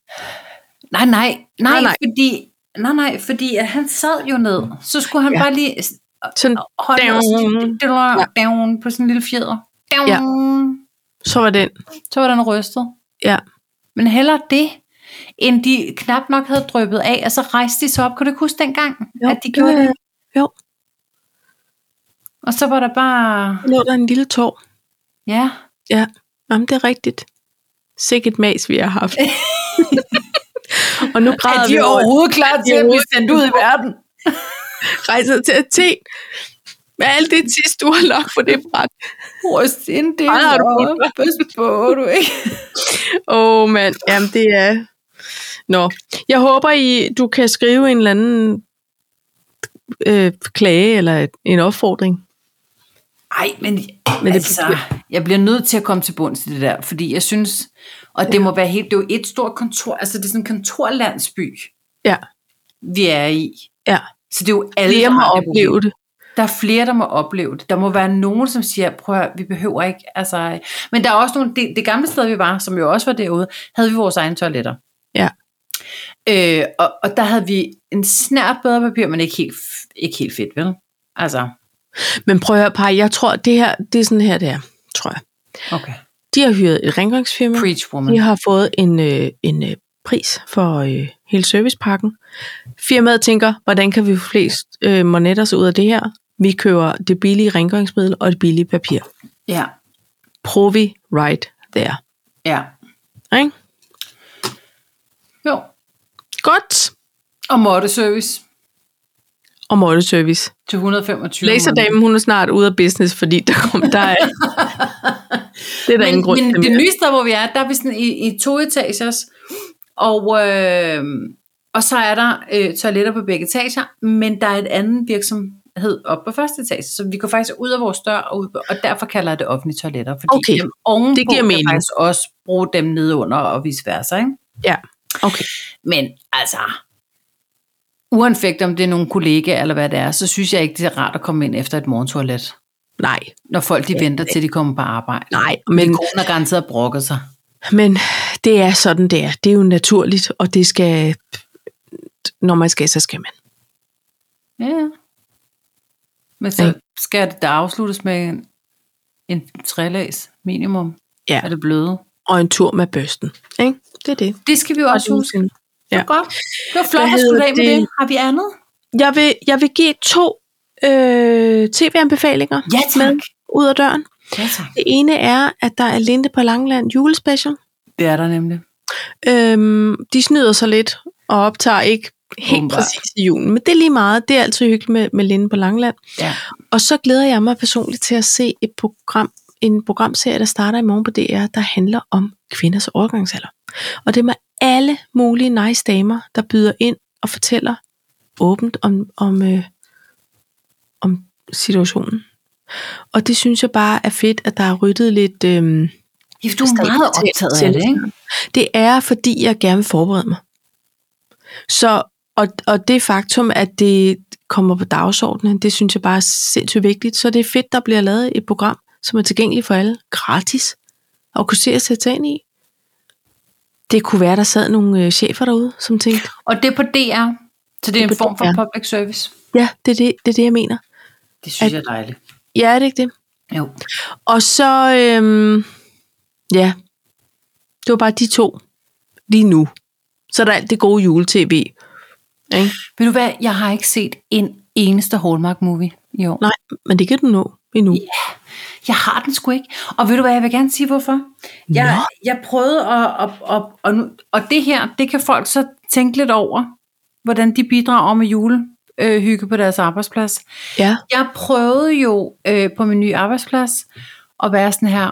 A: Nej, nej, nej, nej,
B: Nej, nej.
A: fordi, nej, nej, fordi at han sad jo ned. Så skulle han ja.
B: Ja.
A: bare lige s-
B: Sådan,
A: holde down. Og,
B: Down.
A: sådan- down, på sådan en lille fjeder. Down. Ja.
B: Ja. så var den.
A: Så var den rystet.
B: Ja.
A: Men hellere det, end de knap nok havde drøbet af, og så rejste de sig op. Kan du ikke huske dengang,
B: Jo,
A: at de gjorde
B: jo,
A: det?
B: jo.
A: Og så var der bare,
B: Så lå der en lille tår.
A: ja,
B: Ja, Jamen, det er rigtigt. Sikkert mas, vi har haft. og nu græder vi over
A: klar
B: til at blive sendt ud i
A: verden?
B: rejser til Athen. Med alt det tis, du har lagt på det bræt.
A: Rust ind det,
B: Ej, har du brugt
A: og pas på, du ikke.
B: Åh, oh, mand. Jamen, det er... Nå. Jeg håber, I, du kan skrive en eller anden øh, klage eller et- en opfordring.
A: Ej, men, men
B: det
A: altså, jeg bliver nødt til at komme til bunds i det der, fordi jeg synes, og det må være helt, det er jo et stort kontor, altså det er sådan en kontorlandsby,
B: Ja,
A: vi er i.
B: ja.
A: Så det er jo alle,
B: Flere
A: der
B: må
A: har det problem.
B: opleve det.
A: Der er flere, der må opleve det. Der må være nogen, som siger, prøv at, høre, vi behøver ikke, altså... øh." Men der er også nogle, det, det gamle sted, vi var, som jo også var derude, havde vi vores egne toiletter.
B: Ja.
A: Øh, og, og der havde vi en snært bedre papir, men ikke helt, ikke helt fedt, vel? Altså,
B: Men prøv at høre, par, jeg tror, det her, det er sådan her, det er, tror jeg.
A: okay.
B: De har hyret et rengøringsfirma.
A: Preach
B: De
A: woman.
B: har fået en, øh, en øh, pris for øh, hele servicepakken. Firmaet tænker, hvordan kan vi få flest øh, monetter så ud af det her? Vi køber det billige rengøringsmiddel og det billige papir.
A: Ja,
B: Provi right there.
A: ja.
B: Ikke?
A: Jo.
B: Godt.
A: Og måtteservice
B: Og måtteservice.
A: til 125.
B: Laserdamen, hun er snart ude af business, fordi der kom der er... det er der
A: men,
B: ingen grund
A: men
B: til
A: det
B: mere.
A: nye sted, hvor vi er, der er vi sådan i, i to etagers, og, øh, og så er der øh, toiletter på begge etager, men der er et andet virksomhed oppe på første etage, så vi går faktisk ud af vores dør, og, ud, og derfor kalder jeg det offentlige toiletter, fordi
B: Okay.
A: dem ovenpå
B: Det giver
A: kan
B: mening.
A: faktisk også bruge dem nedenunder og vice versa, ikke?
B: Ja, okay.
A: Men altså, uanfægt om det er nogle kollegaer eller hvad det er, så synes jeg ikke, det er rart at komme ind efter et morgentoilet,
B: Nej,
A: når folk de venter til de kommer på arbejde.
B: nej.
A: Men
B: Men,
A: konen har garanteret brokket sig.
B: men det er sådan, det er. Det er jo naturligt, og det skal... Når man skal, så skal man.
A: Ja. Men så
B: Ikke?
A: skal det da afsluttes med en, en trælæs minimum
B: Ja.
A: af det bløde.
B: Og en tur med børsten. Ikke? Det er det.
A: Det skal vi også huske. Ja.
B: Ja.
A: Godt. Det var flot
B: Hvad
A: at
B: hedder
A: slutte af med
B: det?
A: det. Har vi andet?
B: Jeg vil, jeg vil give to øh, tv-anbefalinger
A: Ja, tak.
B: med ud af døren.
A: Ja, tak.
B: Det ene er, at der er Linde på Langland julespecial.
A: Det er der nemlig.
B: Øhm, de snyder sig lidt og optager ikke helt
A: Åbenbart.
B: Umbart. præcis i julen. Men det er lige meget. Det er altid hyggeligt med, med Linde på Langland.
A: Ja.
B: Og så glæder jeg mig personligt til at se et program, en programserie, der starter i morgen på DR, der handler om kvinders overgangsalder. Og det er med alle mulige nice damer, der byder ind og fortæller åbent om, om, øh, om situationen. Og det synes jeg bare er fedt, at der er ryddet lidt... Øh,
A: Ja, for du er meget optaget af det, ikke?
B: det er, fordi jeg gerne vil forberede mig. Så, og, og det faktum, at det kommer på dagsordenen, det synes jeg bare er sindssygt vigtigt. Så det er fedt, der bliver lavet et program, som er tilgængeligt for alle, gratis, og kunne se at sætte sig ind i. Det kunne være, der sad nogle øh, chefer derude, som tænkte,
A: Og det er på DR. Så det er en
B: Det er på
A: form for
B: DR.
A: public service.
B: ja, det er det, det, er det jeg mener.
A: Det synes jeg er dejligt.
B: Ja, er det ikke det?
A: Jo.
B: Og så, øhm, ja, det var bare de to lige nu. Så er der alt det gode jule-tv. Ikke?
A: Ved du hvad, jeg har ikke set en eneste Hallmark-movie i år.
B: Nej, men det kan du nå endnu.
A: Jeg har den sgu ikke. Og ved du hvad, jeg vil gerne sige hvorfor. Jeg, jeg prøvede at... at, at, at nu, og det her, det kan folk så tænke lidt over, hvordan de bidrager med julehygge øh, hygge på deres arbejdsplads.
B: Ja,
A: Jeg prøvede jo øh, på min nye arbejdsplads at være sådan her,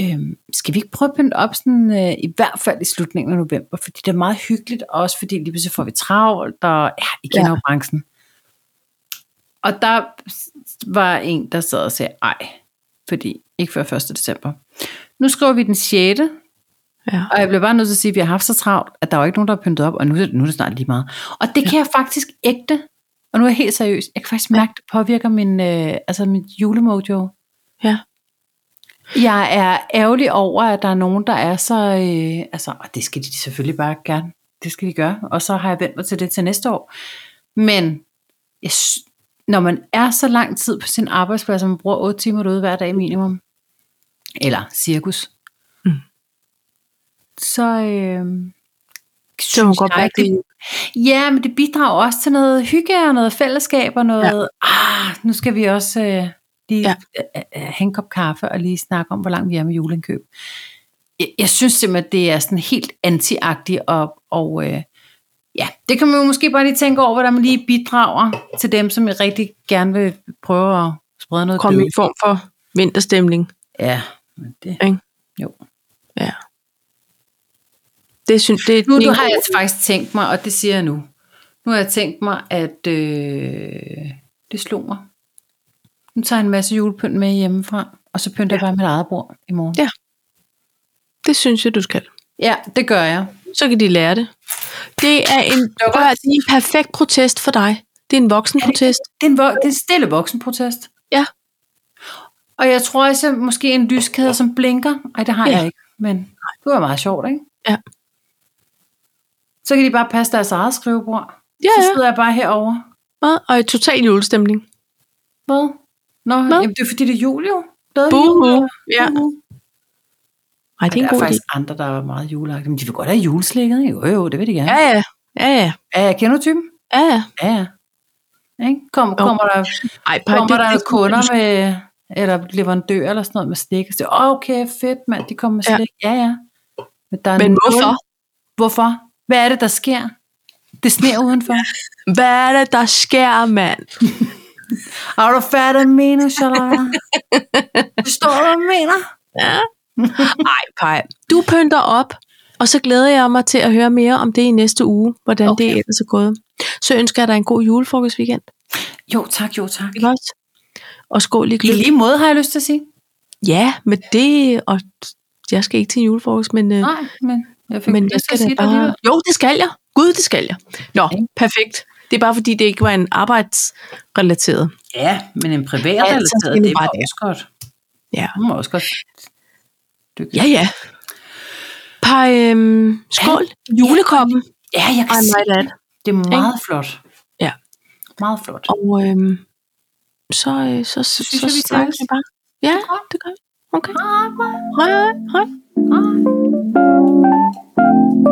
A: øh, skal vi ikke prøve at pynte op sådan, øh, i hvert fald i slutningen af november, fordi det er meget hyggeligt, og også fordi lige pludselig får vi travlt, og ja, I kender ja. jo branchen. Og der var en, der sad og sagde, ej, fordi ikke før 1. december. Nu skriver vi den 6.
B: ja.
A: Og jeg blev bare nødt til at sige, at vi har haft så travlt, at der var ikke nogen, der har pyntet op, og nu, er det- nu er det snart lige meget. Og det kan jeg faktisk ægte, og nu er jeg helt seriøs, jeg kan faktisk mærke, det påvirker min, øh, altså mit julemojo.
B: ja.
A: Jeg er ærgerlig over, at der er nogen, der er så... Øh, altså, og det skal de selvfølgelig bare gerne. Det skal de gøre. Og så har jeg vendt mig til det til næste år. Men jeg, sy- når man er så lang tid på sin arbejdsplads, og man bruger 8 timer derude hver dag minimum, eller cirkus,
B: Mm.
A: så... Øh,
B: Så må man godt mærke det.
A: Ja, men det bidrager også til noget hygge og noget fællesskab og noget, ja. ah, nu skal vi også øh, lige ja.
B: Ja.
A: øh, øh, have en kop kaffe og lige snakke om, hvor langt vi er med juleindkøb. Jeg, jeg synes simpelthen, det er sådan helt antiagtigt, og, og øh, ja, det kan man jo måske bare lige tænke over, hvordan man lige bidrager til dem, som jeg rigtig gerne vil prøve at sprede noget
B: Kom i
A: glæde.
B: en form for vinterstemning.
A: Ja, men det...
B: Ikke?
A: Jo.
B: Ja. Det synes det er
A: Nu,
B: min-
A: nu har jeg faktisk tænkt mig, og det siger jeg nu. Nu har jeg tænkt mig, at øh, det slog mig. Nu tager jeg en masse julepynt med hjemmefra, og så pynter ja. jeg bare mit eget bord i morgen.
B: Ja. Det synes jeg, du skal.
A: ja det gør jeg.
B: Så kan de lære det. Det er en,
A: var-
B: prøv, at høre, det er en perfekt protest for dig. Det er en voksen protest.
A: Det er en, vo- det er en stille voksenprotest.
B: Ja.
A: Og jeg tror også, at måske en lyskæde, som blinker. Ej, det har ja.
B: Ja.
A: jeg ikke, men det var meget sjovt, ikke?
B: Ja.
A: Så kan de bare passe deres eget skrivebord.
B: Ja,
A: Så
B: ja.
A: sidder jeg bare herovre.
B: Hvad? Og i total julestemning.
A: Hvad? Nå,
B: Nå.
A: Jamen, det er fordi, det er jul jo. Glade
B: Buhu.
A: jul.
B: Ja. Ej,
A: der
B: det er en
A: er
B: god idé.
A: faktisk andre, der er meget juleagtige. Men de vil godt have juleslikket. ikke? Jo, jo, det vil de gerne.
B: Ja, ja. Ja, ja.
A: Ja, ja kender du typen?
B: Ja, ja.
A: Ja, ja. Ikke? Kom, kommer der,
B: Ej, Paj,
A: kommer der
B: det-
A: kunder med, eller leverandører eller sådan noget med slik? Så, Åh, okay, fedt mand, de kommer med
B: Ja.
A: slik. Ja, ja. Men, der er
B: Men
A: nul.
B: hvorfor?
A: Hvorfor? Hvad er det, der sker? Det sner udenfor.
B: Hvad er det, der sker, mand?
A: Har du færdig mener, Charlotte? Forstår du, hvad jeg mener?
B: Ej, Paj. Du pynter op, og så glæder jeg mig til at høre mere om det i næste uge, hvordan okay.
A: Okay.
B: det ellers er gået. Så ønsker jeg dig en god julefrokostweekend.
A: Jo, tak, jo, tak.
B: Ikke også? Og skål i
A: I
B: gløb.
A: lige måde har jeg lyst til at sige.
B: Ja, men det... Og jeg skal ikke til en julefrokost, men... Øh,
A: Nej, men jeg fik
B: men
A: lyst
B: jeg
A: til at
B: skal
A: sige
B: da
A: det alligevel.
B: bare... Jo, det skal jeg. Gud, det skal jeg. Nå,
A: Okay.
B: perfekt. Det er bare fordi, det ikke var en arbejdsrelateret.
A: Ja, men en privat
B: Ja, så
A: relateret,
B: skal vi
A: det var
B: bare
A: også godt.
B: Ja.
A: Det må også godt. dykke.
B: Ja, ja. Par, øhm, skål. Julekoppen.
A: Ja, jeg kan
B: Ej,
A: se
B: my lad.
A: det. er meget flot.
B: Ja.
A: Meget flot.
B: Og øhm, så, øh, så, så,
A: synes
B: så
A: jeg, vi tages.
B: snakkes vi bare. Ja, det gør vi. Okay. Hej, hej.